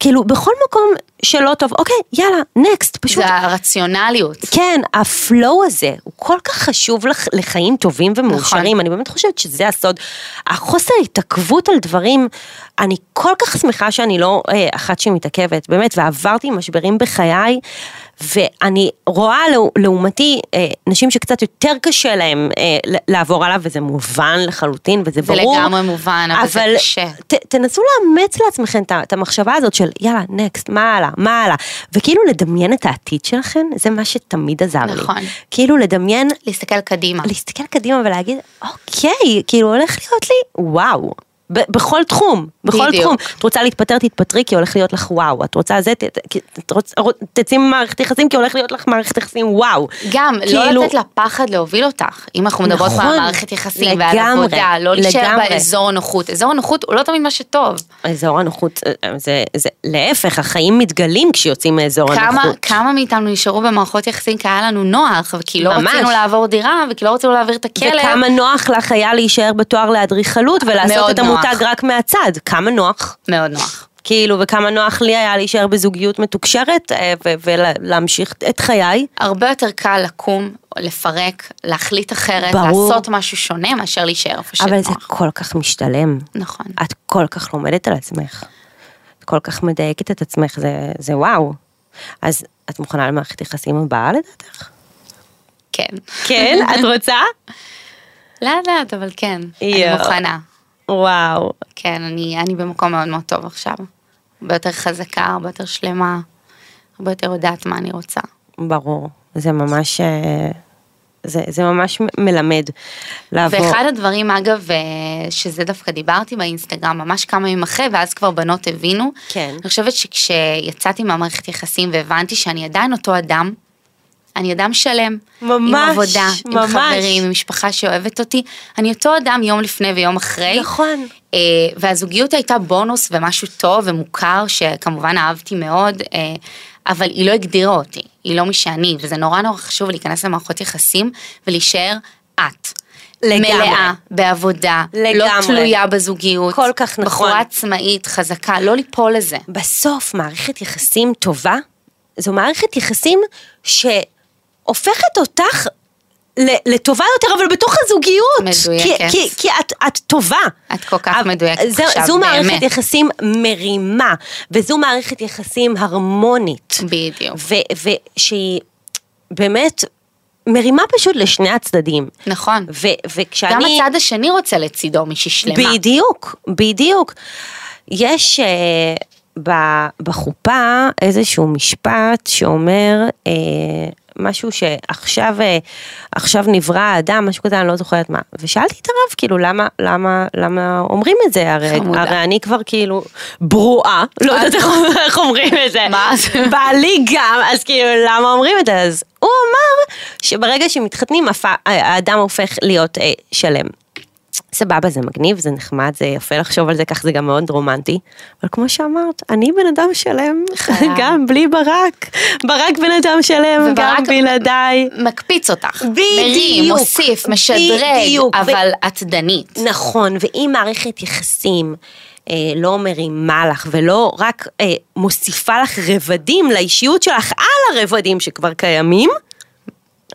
Speaker 1: כאילו בכל מקום שלא טוב, אוקיי, יאללה, נקסט, פשוט,
Speaker 2: זה הרציונליות.
Speaker 1: כן, הפלואו הזה הוא כל כך חשוב לח, לחיים טובים ומאושרים,
Speaker 2: נכון.
Speaker 1: אני באמת חושבת שזה הסוד. החוסר התעכבות על דברים, אני כל כך שמחה שאני לא אה, אחת שמתעכבת, באמת, ועברתי משברים בחיי, ואני רואה לא, לעומתי אה, נשים שקצת יותר קשה להם אה, ל- לעבור עליו, וזה מובן לחלוטין, וזה
Speaker 2: זה
Speaker 1: ברור.
Speaker 2: לגמרי מובן, אבל זה קשה.
Speaker 1: ת, תנסו לאמץ לעצמכם את ה- את המחשבה הזאת של יאללה, נקסט, מה הלאה, מה הלאה. וכאילו לדמיין את העתיד שלכם, זה מה שתמיד עזר לי.
Speaker 2: נכון.
Speaker 1: כאילו לדמיין,
Speaker 2: להסתכל קדימה.
Speaker 1: להסתכל קדימה ולהגיד, אוקיי, כאילו הולך להיות לי וואו. ב- בכל תחום, בכל
Speaker 2: בדיוק.
Speaker 1: תחום. את רוצה להתפטר, תתפטרי, כי הולך להיות לך וואו. את רוצה זה, ת- ת- כי- את רוצ- רוצ- תצאי ממערכת יחסים, כי הולך להיות לך מערכת יחסים וואו.
Speaker 2: גם,
Speaker 1: כאילו-
Speaker 2: לא לתת לפחד להוביל אותך. אם אנחנו מדברות פה
Speaker 1: נכון,
Speaker 2: על מערכת יחסים ועל
Speaker 1: לגמרי,
Speaker 2: עבודה, לא להישאר
Speaker 1: לגמרי.
Speaker 2: באזור הנוחות. אזור הנוחות הוא לא תמיד מה שטוב.
Speaker 1: אזור הנוחות, אה, זה, זה להפך, החיים מתגלים כשיוצאים מאזור
Speaker 2: כמה,
Speaker 1: הנוחות.
Speaker 2: כמה מאיתנו נשארו במערכות יחסים כי היה לנו נוח, וכי לא
Speaker 1: ממש.
Speaker 2: רצינו לעבור דירה, וכי לא רצינו להעביר את הכלב.
Speaker 1: וכמה נוח לך כן, היה להישאר בתואר לאדריכלות ולעשות
Speaker 2: מאוד
Speaker 1: את המותג
Speaker 2: נוח.
Speaker 1: רק מהצד, כמה נוח.
Speaker 2: מאוד נוח.
Speaker 1: כאילו, וכמה נוח לי היה להישאר בזוגיות מתוקשרת אה, ו- ולהמשיך את חיי.
Speaker 2: הרבה יותר קל לקום, לפרק, להחליט אחרת,
Speaker 1: ברור.
Speaker 2: לעשות משהו שונה מאשר להישאר איפה
Speaker 1: אבל זה
Speaker 2: שנוח.
Speaker 1: כל כך משתלם.
Speaker 2: נכון.
Speaker 1: את כל כך לומדת על עצמך. את כל כך מדייקת את עצמך, זה, זה וואו. אז את מוכנה למערכת יחסים הבאה לדעתך?
Speaker 2: כן.
Speaker 1: כן, את רוצה?
Speaker 2: לאט לאט, אבל כן. אני
Speaker 1: יואו.
Speaker 2: מוכנה.
Speaker 1: וואו.
Speaker 2: כן, אני, אני במקום מאוד מאוד טוב עכשיו. הרבה יותר חזקה, הרבה יותר שלמה, הרבה יותר יודעת מה אני רוצה.
Speaker 1: ברור. זה ממש... אה, זה, זה ממש מ- מלמד לעבור.
Speaker 2: ואחד הדברים אגב, אה, שזה דווקא דיברתי באינסטגרם ממש כמה ימים אחרי, ואז כבר בנות הבינו.
Speaker 1: כן.
Speaker 2: אני חושבת שכשיצאתי מהמערכת יחסים והבנתי שאני עדיין אותו אדם, אני אדם שלם. עם
Speaker 1: ממש,
Speaker 2: עבודה,
Speaker 1: ממש.
Speaker 2: עם חברים, עם משפחה שאוהבת אותי. אני אותו אדם יום לפני ויום אחרי.
Speaker 1: נכון.
Speaker 2: אה, והזוגיות הייתה בונוס ומשהו טוב ומוכר, שכמובן אהבתי מאוד, אה, אבל היא לא הגדירה אותי, היא לא מי שאני, וזה נורא נורא חשוב להיכנס למערכות יחסים ולהישאר את.
Speaker 1: לגמרי.
Speaker 2: מלאה, בעבודה, לא
Speaker 1: לגמרי.
Speaker 2: תלויה בזוגיות.
Speaker 1: כל כך נכון.
Speaker 2: בחורה עצמאית, חזקה, לא ליפול לזה.
Speaker 1: בסוף מערכת יחסים טובה, זו מערכת יחסים שהופכת אותך ל- לטובה יותר, אבל בתוך הזוגיות. כי,
Speaker 2: מדויקת.
Speaker 1: כי, כי את, את טובה.
Speaker 2: את כל כך
Speaker 1: אבל-
Speaker 2: מדויקת
Speaker 1: זו,
Speaker 2: עכשיו,
Speaker 1: זו מערכת
Speaker 2: באמת.
Speaker 1: יחסים מרימה, וזו מערכת יחסים הרמונית.
Speaker 2: בדיוק.
Speaker 1: ו- ושהיא באמת מרימה פשוט לשני הצדדים.
Speaker 2: נכון.
Speaker 1: ו- וכשאני...
Speaker 2: גם הצד השני רוצה לצידו מישהי שלמה.
Speaker 1: בדיוק, בדיוק. יש אה, ב- בחופה איזשהו משפט שאומר אה, משהו שעכשיו אה, עכשיו נברא האדם, משהו כזה, אני לא זוכרת מה. ושאלתי את הרב, כאילו, למה, למה, למה אומרים את זה? הרי,
Speaker 2: חמודה.
Speaker 1: הרי אני כבר כאילו ברואה, לא יודעת איך- איך אומרים את זה.
Speaker 2: מה זה?
Speaker 1: בעלי גם, אז כאילו, למה אומרים את זה? אז הוא אמר שברגע שמתחתנים, הפ- האדם הופך להיות אה, שלם. סבבה, זה מגניב, זה נחמד, זה יפה לחשוב על זה, כך זה גם מאוד רומנטי. אבל כמו שאמרת, אני בן אדם שלם,
Speaker 2: חלב.
Speaker 1: גם בלי ברק. ברק בן אדם שלם, גם
Speaker 2: וברק-
Speaker 1: בלעדיי.
Speaker 2: מקפיץ אותך. מרים,
Speaker 1: בדיוק.
Speaker 2: מוסיף, משדרג,
Speaker 1: בדיוק. ו-
Speaker 2: אבל עתדנית.
Speaker 1: נכון, ואם מערכת יחסים אה, לא מרימה לך ולא רק אה, מוסיפה לך רבדים לאישיות שלך על הרבדים שכבר קיימים,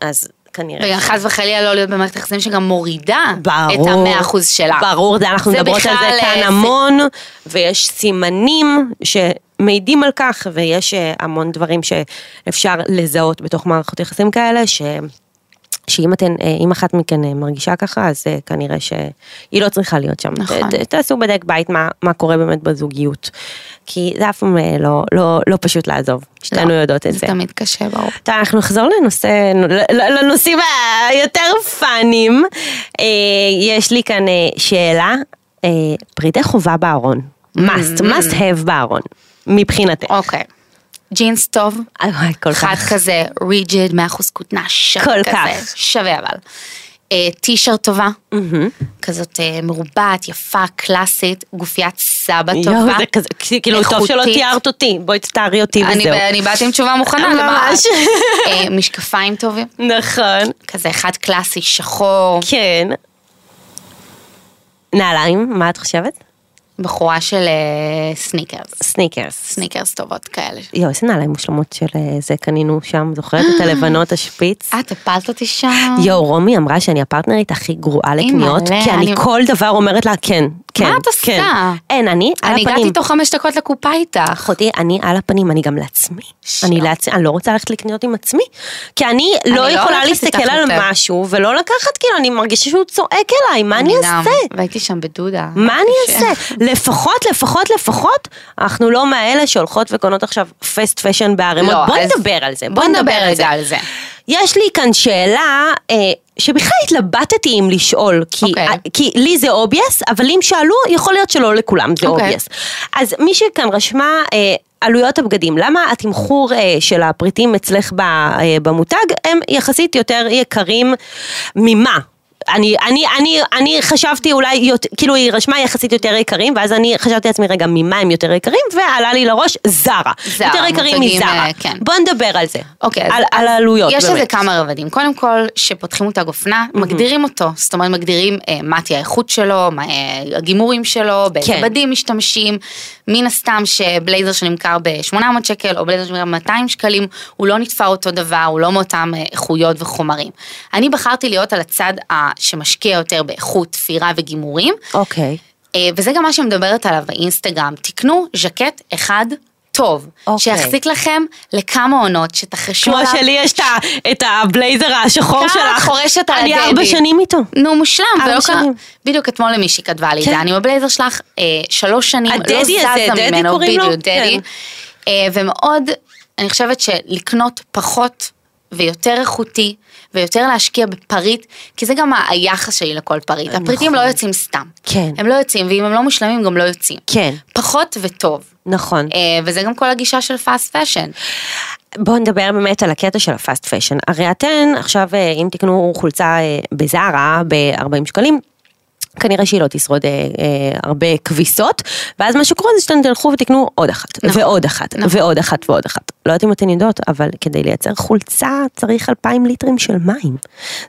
Speaker 1: אז כנראה...
Speaker 2: וגם חס וחלילה לא להיות במערכת יחסים שגם מורידה
Speaker 1: ברור.
Speaker 2: את המאה אחוז שלה.
Speaker 1: ברור, זה אנחנו
Speaker 2: זה
Speaker 1: מדברות על
Speaker 2: בכלל,
Speaker 1: זה כאן
Speaker 2: אה, זה-
Speaker 1: המון, ויש סימנים שמעידים על כך, ויש אה, המון דברים שאפשר לזהות בתוך מערכות יחסים כאלה, ש... שאם אתן, אה, אם אחת מכן אה, מרגישה ככה, אז אה, כנראה שהיא לא צריכה להיות שם.
Speaker 2: נכון.
Speaker 1: ת- ת- תעשו בדק בית מה, מה קורה באמת בזוגיות. כי זה אף פעם אה, לא, לא, לא פשוט לעזוב, שתינו
Speaker 2: לא,
Speaker 1: יודעות את זה.
Speaker 2: זה תמיד קשה, ברור.
Speaker 1: טוב, אנחנו נחזור לנושא, לנושאים היותר פאנים. אה, יש לי כאן אה, שאלה, אה, פריטי חובה בארון. must, must have בארון, מבחינתך.
Speaker 2: אוקיי. ג'ינס טוב,
Speaker 1: אה, וואי, כל
Speaker 2: אחד
Speaker 1: כך.
Speaker 2: כזה ריג'ד, 100% כותנה, שווה
Speaker 1: כל
Speaker 2: כזה,
Speaker 1: כך.
Speaker 2: שווה אבל. אה, טישרט טובה, כזאת אה, מרובעת, יפה, קלאסית, גופיית סבא
Speaker 1: יואו,
Speaker 2: טובה.
Speaker 1: זה כזה, כאילו, טוב שלא
Speaker 2: איכותית.
Speaker 1: תיארת אותי, בואי תתארי אותי
Speaker 2: אני
Speaker 1: וזהו.
Speaker 2: ב- אני באתי עם תשובה מוכנה, למה?
Speaker 1: ממש.
Speaker 2: אה, משקפיים טובים,
Speaker 1: נכון,
Speaker 2: כזה אחד קלאסי, שחור,
Speaker 1: כן. נעליים, מה את חושבת?
Speaker 2: בחורה של אה, סניקרס.
Speaker 1: סניקרס.
Speaker 2: סניקרס טובות כאלה.
Speaker 1: יואו, איזה נעליים מושלמות של אה, זה קנינו שם, זוכרת את הלבנות, השפיץ?
Speaker 2: אה, את הפלת אותי שם.
Speaker 1: יואו, רומי אמרה שאני הפרטנרית הכי גרועה לקניות,
Speaker 2: אה. מלא,
Speaker 1: כי אני
Speaker 2: אני-
Speaker 1: כל דבר אומרת לה כן, כן,
Speaker 2: את עושה?
Speaker 1: כן. אין, אני על
Speaker 2: אני
Speaker 1: הפנים.
Speaker 2: הגעתי תוך חמש דקות לקופה איתך.
Speaker 1: אחותי, אני על הפנים, אני גם לעצמי.
Speaker 2: שואו.
Speaker 1: אני לעצמי, אני לא רוצה ללכת לקניות עם עצמי, כי אני
Speaker 2: לא
Speaker 1: לא יכולה
Speaker 2: הולכת
Speaker 1: להסתכל
Speaker 2: איתך
Speaker 1: על
Speaker 2: יותר.
Speaker 1: משהו ולא לקחת, כאילו, אני מרגישה שהוא צועק אליי, מה אני
Speaker 2: גם,
Speaker 1: אעשה?
Speaker 2: והייתי שם בדודה.
Speaker 1: מה אני
Speaker 2: קשה.
Speaker 1: אעשה? לפחות, לפחות, לפחות, אנחנו לא מאלה שהולכות וקונות עכשיו פסט פשן בערימות.
Speaker 2: לא,
Speaker 1: בוא
Speaker 2: אז-
Speaker 1: נדבר על זה.
Speaker 2: בוא נדבר רגע על זה.
Speaker 1: יש לי כאן שאלה אה, שבכלל התלבטתי אם לשאול, כי,
Speaker 2: אוקיי.
Speaker 1: okay. כי לי זה אובייס, אבל אם שאלו, יכול להיות שלא לכולם זה
Speaker 2: אוקיי.
Speaker 1: אובייס. Okay. אז מי שכאן רשמה... אה, עלויות הבגדים, למה התמחור אה, של הפריטים אצלך ב, אה, במותג הם יחסית יותר יקרים ממה? אני, אני, אני, אני חשבתי אולי, יות, כאילו היא רשמה יחסית יותר יקרים, ואז אני חשבתי לעצמי רגע ממה הם יותר יקרים, ועלה לי לראש זרה.
Speaker 2: זרה,
Speaker 1: יותר יקרים
Speaker 2: מותגים,
Speaker 1: מזרה.
Speaker 2: אה, כן.
Speaker 1: בוא נדבר על זה.
Speaker 2: אוקיי, אז-
Speaker 1: על, על
Speaker 2: אז
Speaker 1: העלויות,
Speaker 2: יש
Speaker 1: באמת.
Speaker 2: לזה כמה רבדים. קודם כל, שפותחים מותג אופנה, מגדירים אותו. זאת אומרת, מגדירים אה, מה תהיה האיכות שלו, מה אה, הגימורים שלו, באיזה
Speaker 1: כן.
Speaker 2: בדים משתמשים. מן הסתם שבלייזר שנמכר ב-800 שקל, או בלייזר שנמכר ב-200 שקלים, הוא לא נתפר אותו דבר, הוא לא מאותם אה, איכויות וחומרים. אני בחרתי להיות על הצד ה- שמשקיע יותר באיכות, תפירה וגימורים.
Speaker 1: אוקיי.
Speaker 2: אה, וזה גם מה שמדברת עליו באינסטגרם, תקנו ז'קט אחד טוב,
Speaker 1: אוקיי.
Speaker 2: שיחזיק לכם לכמה עונות, שתחרשו
Speaker 1: כמו
Speaker 2: עליו.
Speaker 1: שלי יש את ה- את הבלייזר השחור
Speaker 2: כמה
Speaker 1: שלך.
Speaker 2: את חורשת על
Speaker 1: אני
Speaker 2: הדבי.
Speaker 1: ארבע שנים איתו.
Speaker 2: נו, מושלם,
Speaker 1: ארבע
Speaker 2: ולא קרה.
Speaker 1: שנים.
Speaker 2: בדיוק אתמול למישהי כתבה לי את
Speaker 1: אה, כן.
Speaker 2: זה, אני בבלייזר שלך אה, שלוש שנים,
Speaker 1: הדדי
Speaker 2: לא זזה
Speaker 1: הזה, דדי
Speaker 2: ממנו,
Speaker 1: קוראים לו? כן.
Speaker 2: בדיוק, דדי. אה, ומאוד, אני חושבת שלקנות פחות ויותר איכותי, ויותר להשקיע בפריט, כי זה גם ה- היחס שלי לכל פריט. הפריטים לא יוצאים סתם.
Speaker 1: נכון. כן.
Speaker 2: הם לא יוצאים, ואם הם לא מושלמים, הם גם לא יוצאים.
Speaker 1: כן.
Speaker 2: פחות וטוב.
Speaker 1: נכון.
Speaker 2: אה, וזה גם כל הגישה של פאסט פאשן.
Speaker 1: בואו נדבר באמת על הקטע של הפאסט פשן. הרי אתן, עכשיו אה, אם תקנו חולצה אה, בזארה ב-40 שקלים, כנראה שהיא לא תשרוד אה, אה, הרבה כביסות, ואז מה שקורה זה שאתם תלכו ותקנו עוד אחת, נכון, ועוד אחת, נכון. ועוד אחת ועוד אחת. לא יודעת אם אתן יודעות, אבל כדי לייצר חולצה צריך 2,000 ליטרים של מים.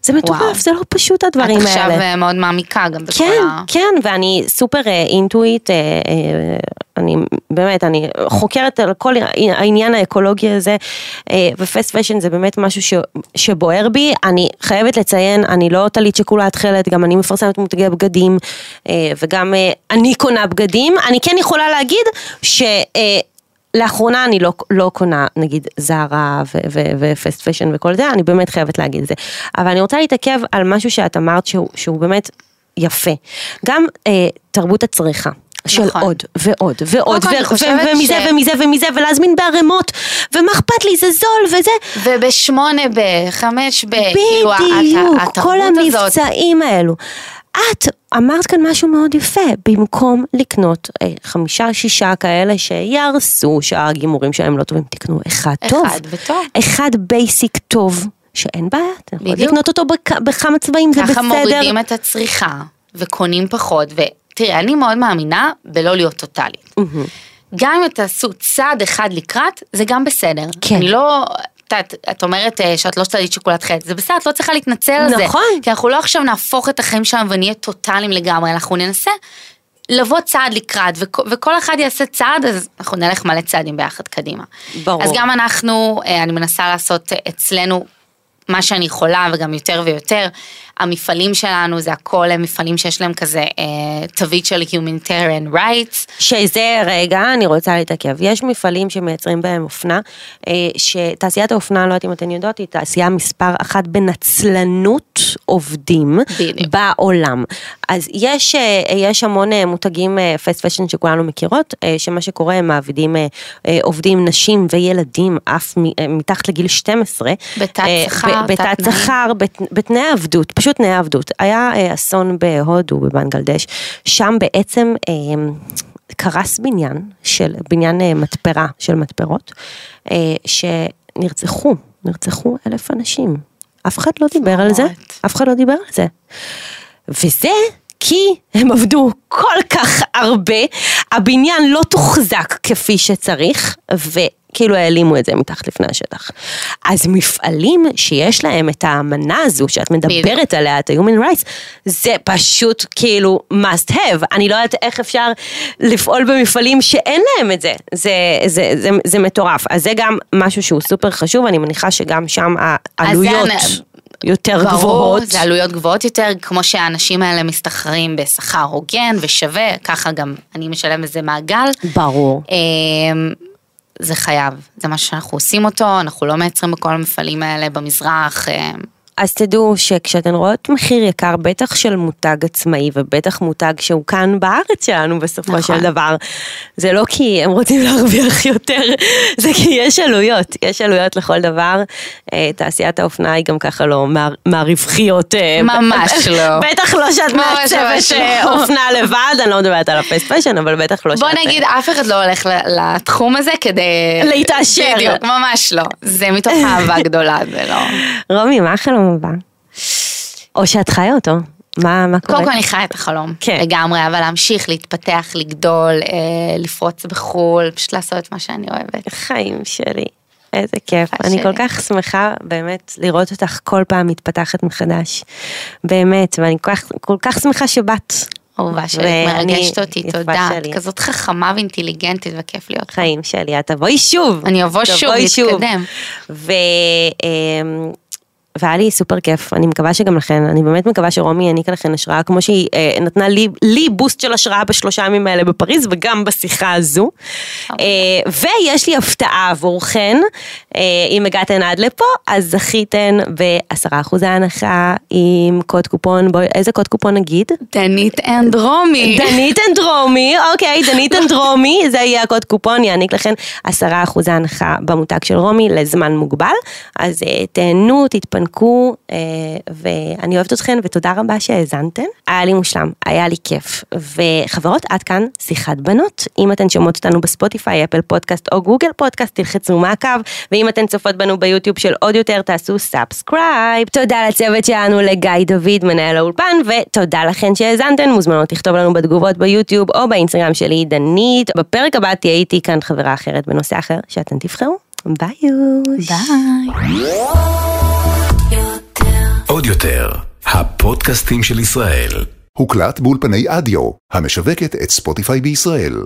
Speaker 1: זה מטורף,
Speaker 2: וואו.
Speaker 1: זה לא פשוט
Speaker 2: את
Speaker 1: הדברים
Speaker 2: עכשיו
Speaker 1: האלה.
Speaker 2: אה, מאוד מעמיקה גם בכל
Speaker 1: כן,
Speaker 2: ה...
Speaker 1: כן, ואני סופר אה, אינטואיט, אה, אה, אני באמת, אני חוקרת על כל העניין האקולוגי הזה, אה, ופסט פשן זה באמת משהו ש, שבוער בי, אני חייבת לציין, אני לא טלית שכולה התכלת, גם אני מפרסמת מותגי בגדים, אה, וגם אה, אני קונה בגדים, אני כן יכולה להגיד ש... אה, לאחרונה אני לא, לא קונה נגיד זרה ו- ו- ופסט פשן וכל זה, אני באמת חייבת להגיד את זה. אבל אני רוצה להתעכב על משהו שאת אמרת שהוא, שהוא באמת יפה. גם אה, תרבות הצריכה. של
Speaker 2: נכון.
Speaker 1: עוד ועוד ועוד
Speaker 2: קודם כל, אני
Speaker 1: ו-
Speaker 2: חושבת
Speaker 1: ו- ומזה
Speaker 2: ש-
Speaker 1: ומזה ומזה ולהזמין בערימות ומה אכפת לי זה זול וזה
Speaker 2: ובשמונה ב, חמש ב, כאילו ה- ה-
Speaker 1: בדיוק, כל
Speaker 2: התרבות הזאת.
Speaker 1: המבצעים האלו. את אמרת כאן משהו מאוד יפה, במקום לקנות אה, חמישה, שישה כאלה שיהרסו, שהגימורים שלהם לא טובים, תקנו אחד טוב.
Speaker 2: וטוב.
Speaker 1: אחד בייסיק טוב, שאין בעיה, אתם יכולים
Speaker 2: בדיוק.
Speaker 1: לקנות אותו בכ- בכמה צבעים, זה בסדר.
Speaker 2: ככה מורידים את הצריכה. וקונים פחות, ותראה, אני מאוד מאמינה בלא להיות טוטאלית.
Speaker 1: מהמם.
Speaker 2: גם אם תעשו צעד אחד לקראת, זה גם בסדר.
Speaker 1: כן.
Speaker 2: אני לא... את, יודעת, את אומרת אה, שאת לא שתדעית שיקולת חטא, זה בסדר, את לא צריכה להתנצל על זה.
Speaker 1: נכון.
Speaker 2: כי אנחנו לא עכשיו נהפוך את החיים שלנו ונהיה טוטאליים לגמרי, אנחנו ננסה לבוא צעד לקראת, וכ- וכל אחד יעשה צעד, אז אנחנו נלך מלא צעדים ביחד קדימה.
Speaker 1: ברור.
Speaker 2: אז גם אנחנו, אה, אני מנסה לעשות אה, אצלנו מה שאני יכולה, וגם יותר ויותר. המפעלים שלנו זה הכל אה, מפעלים שיש להם כזה אה, תווית של Humanitarian Rights.
Speaker 1: שזה, רגע, אני רוצה להתעכב. יש מפעלים שמייצרים בהם אופנה, אה, שתעשיית האופנה, לא יודעת אם אתן יודעות, היא תעשייה מספר אחת בנצלנות עובדים
Speaker 2: בדיוק.
Speaker 1: בעולם. אז יש, אה, יש המון אה, מותגים פסט פשן שכולנו מכירות, אה, שמה שקורה, הם מעבידים אה, אה, עובדים, נשים וילדים, אף מ- אה, מתחת לגיל 12.
Speaker 2: בתת
Speaker 1: אה,
Speaker 2: שכר,
Speaker 1: ב- בתת
Speaker 2: תת תנאים.
Speaker 1: שכר, בת- בתנאי עבדות, פשוט תנאי עבדות. היה אה, אסון בהודו, בבנגלדש, שם בעצם אה, קרס בניין, של בניין אה, מתפרה, של מתפרות, אה, שנרצחו, נרצחו אלף אנשים. אף אחד לא דיבר על זה,
Speaker 2: צמרמורת.
Speaker 1: אף אחד לא דיבר על זה. וזה כי הם עבדו כל כך הרבה, הבניין לא תוחזק כפי שצריך, וכאילו העלימו את זה מתחת לפני השטח. אז מפעלים שיש להם את האמנה הזו שאת מדברת
Speaker 2: בדיוק.
Speaker 1: עליה, את ה-Human Rights, זה פשוט כאילו must have. אני לא יודעת איך אפשר לפעול במפעלים שאין להם את זה. זה, זה, זה, זה מטורף. אז זה גם משהו שהוא סופר חשוב, אני מניחה שגם שם העלויות
Speaker 2: הנ-
Speaker 1: יותר גבוהות.
Speaker 2: זה עלויות גבוהות יותר, כמו שהאנשים האלה מסתחרים בשכר הוגן ושווה, ככה גם אני משלם איזה מעגל.
Speaker 1: ברור.
Speaker 2: אמ, זה חייב, זה משהו שאנחנו עושים אותו, אנחנו לא מייצרים בכל המפעלים האלה במזרח. אמ,
Speaker 1: אז תדעו שכשאתן רואות מחיר יקר, בטח של מותג עצמאי ובטח מותג שהוא כאן בארץ שלנו בסופו
Speaker 2: נכון.
Speaker 1: של דבר, זה לא כי הם רוצים להרוויח יותר, זה כי יש עלויות, יש עלויות לכל דבר. אה, תעשיית האופנה היא גם ככה לא מה- מהרווחיות. אה,
Speaker 2: ממש לא.
Speaker 1: בטח לא שאת
Speaker 2: ממש
Speaker 1: מעצבת
Speaker 2: ממש לא.
Speaker 1: אה, אופנה לבד, אני לא מדברת על הפסט פשן, אבל בטח לא שאת...
Speaker 2: בוא נגיד, אף אחד לא הולך ל- לתחום הזה כדי...
Speaker 1: להתעשר.
Speaker 2: בדיוק, ממש לא. זה מתוך אהבה גדולה, זה לא...
Speaker 1: רומי, מה החלום הבא? או שאת חיה אותו, מה מה קורה?
Speaker 2: קודם כל אני חיה את החלום,
Speaker 1: כן.
Speaker 2: לגמרי, אבל להמשיך, להתפתח, לגדול, אה, לפרוץ בחו"ל, פשוט לעשות את מה שאני אוהבת.
Speaker 1: חיים שלי. איזה כיף,
Speaker 2: חיים
Speaker 1: אני
Speaker 2: שלי.
Speaker 1: כל כך שמחה באמת לראות אותך כל פעם מתפתחת מחדש. באמת, ואני כל כך, כל כך שמחה שבאת.
Speaker 2: אהובה שלי,
Speaker 1: ואני-
Speaker 2: אה, מרגשת אותי,
Speaker 1: יפה
Speaker 2: תודה.
Speaker 1: שלי.
Speaker 2: את כזאת חכמה ואינטליגנטית וכיף להיות. פה.
Speaker 1: חיים שלי, את תבואי שוב.
Speaker 2: אני אבוא שוב,
Speaker 1: תבואי
Speaker 2: נתקדם.
Speaker 1: ו... אמ, והיה לי סופר כיף, אני מקווה שגם לכן, אני באמת מקווה שרומי העניקה לכן השראה, כמו שהיא אה, נתנה לי, לי בוסט של השראה בשלושה ימים האלה בפריז, וגם בשיחה הזו.
Speaker 2: אוקיי.
Speaker 1: אה, ויש לי הפתעה עבורכן, אה, אם הגעתן עד לפה, אז זכיתן בעשרה אחוז ההנחה עם קוד קופון, בואי, איזה קוד קופון נגיד?
Speaker 2: דנית אנדרומי.
Speaker 1: דנית אנדרומי, אוקיי, דנית אנדרומי, זה יהיה הקוד קופון, יעניק לכם 10% הנחה במותג של רומי לזמן מוגבל. אז אה, תהנו, תתפנקו, אה, ואני אוהבת אתכן, ותודה רבה שהאזנתן. היה לי מושלם, היה לי כיף. וחברות, עד כאן שיחת בנות. אם אתן שומעות אותנו בספוטיפיי, אפל פודקאסט או גוגל פודקאסט, תלחצו מעקב, ואם אתן צופות בנו ביוטיוב של עוד יותר, תעשו סאבסקרייב. תודה לצוות שלנו, לגיא דוד, מנהל האולפן, ותודה לכן שהאזנתן, מוזמנות לכתוב לנו בתגובות ביוטיוב או באינסטגרם שלי, דנית. בפרק הבא תהיה איתי כאן חברה אחרת בנושא אחר, שאתן תבחרו. ביי יוש.
Speaker 2: ביי.
Speaker 4: עוד יותר, הפודקאסטים של ישראל.
Speaker 5: הוקלט באולפני אדיו, המשווקת את ספוטיפיי בישראל.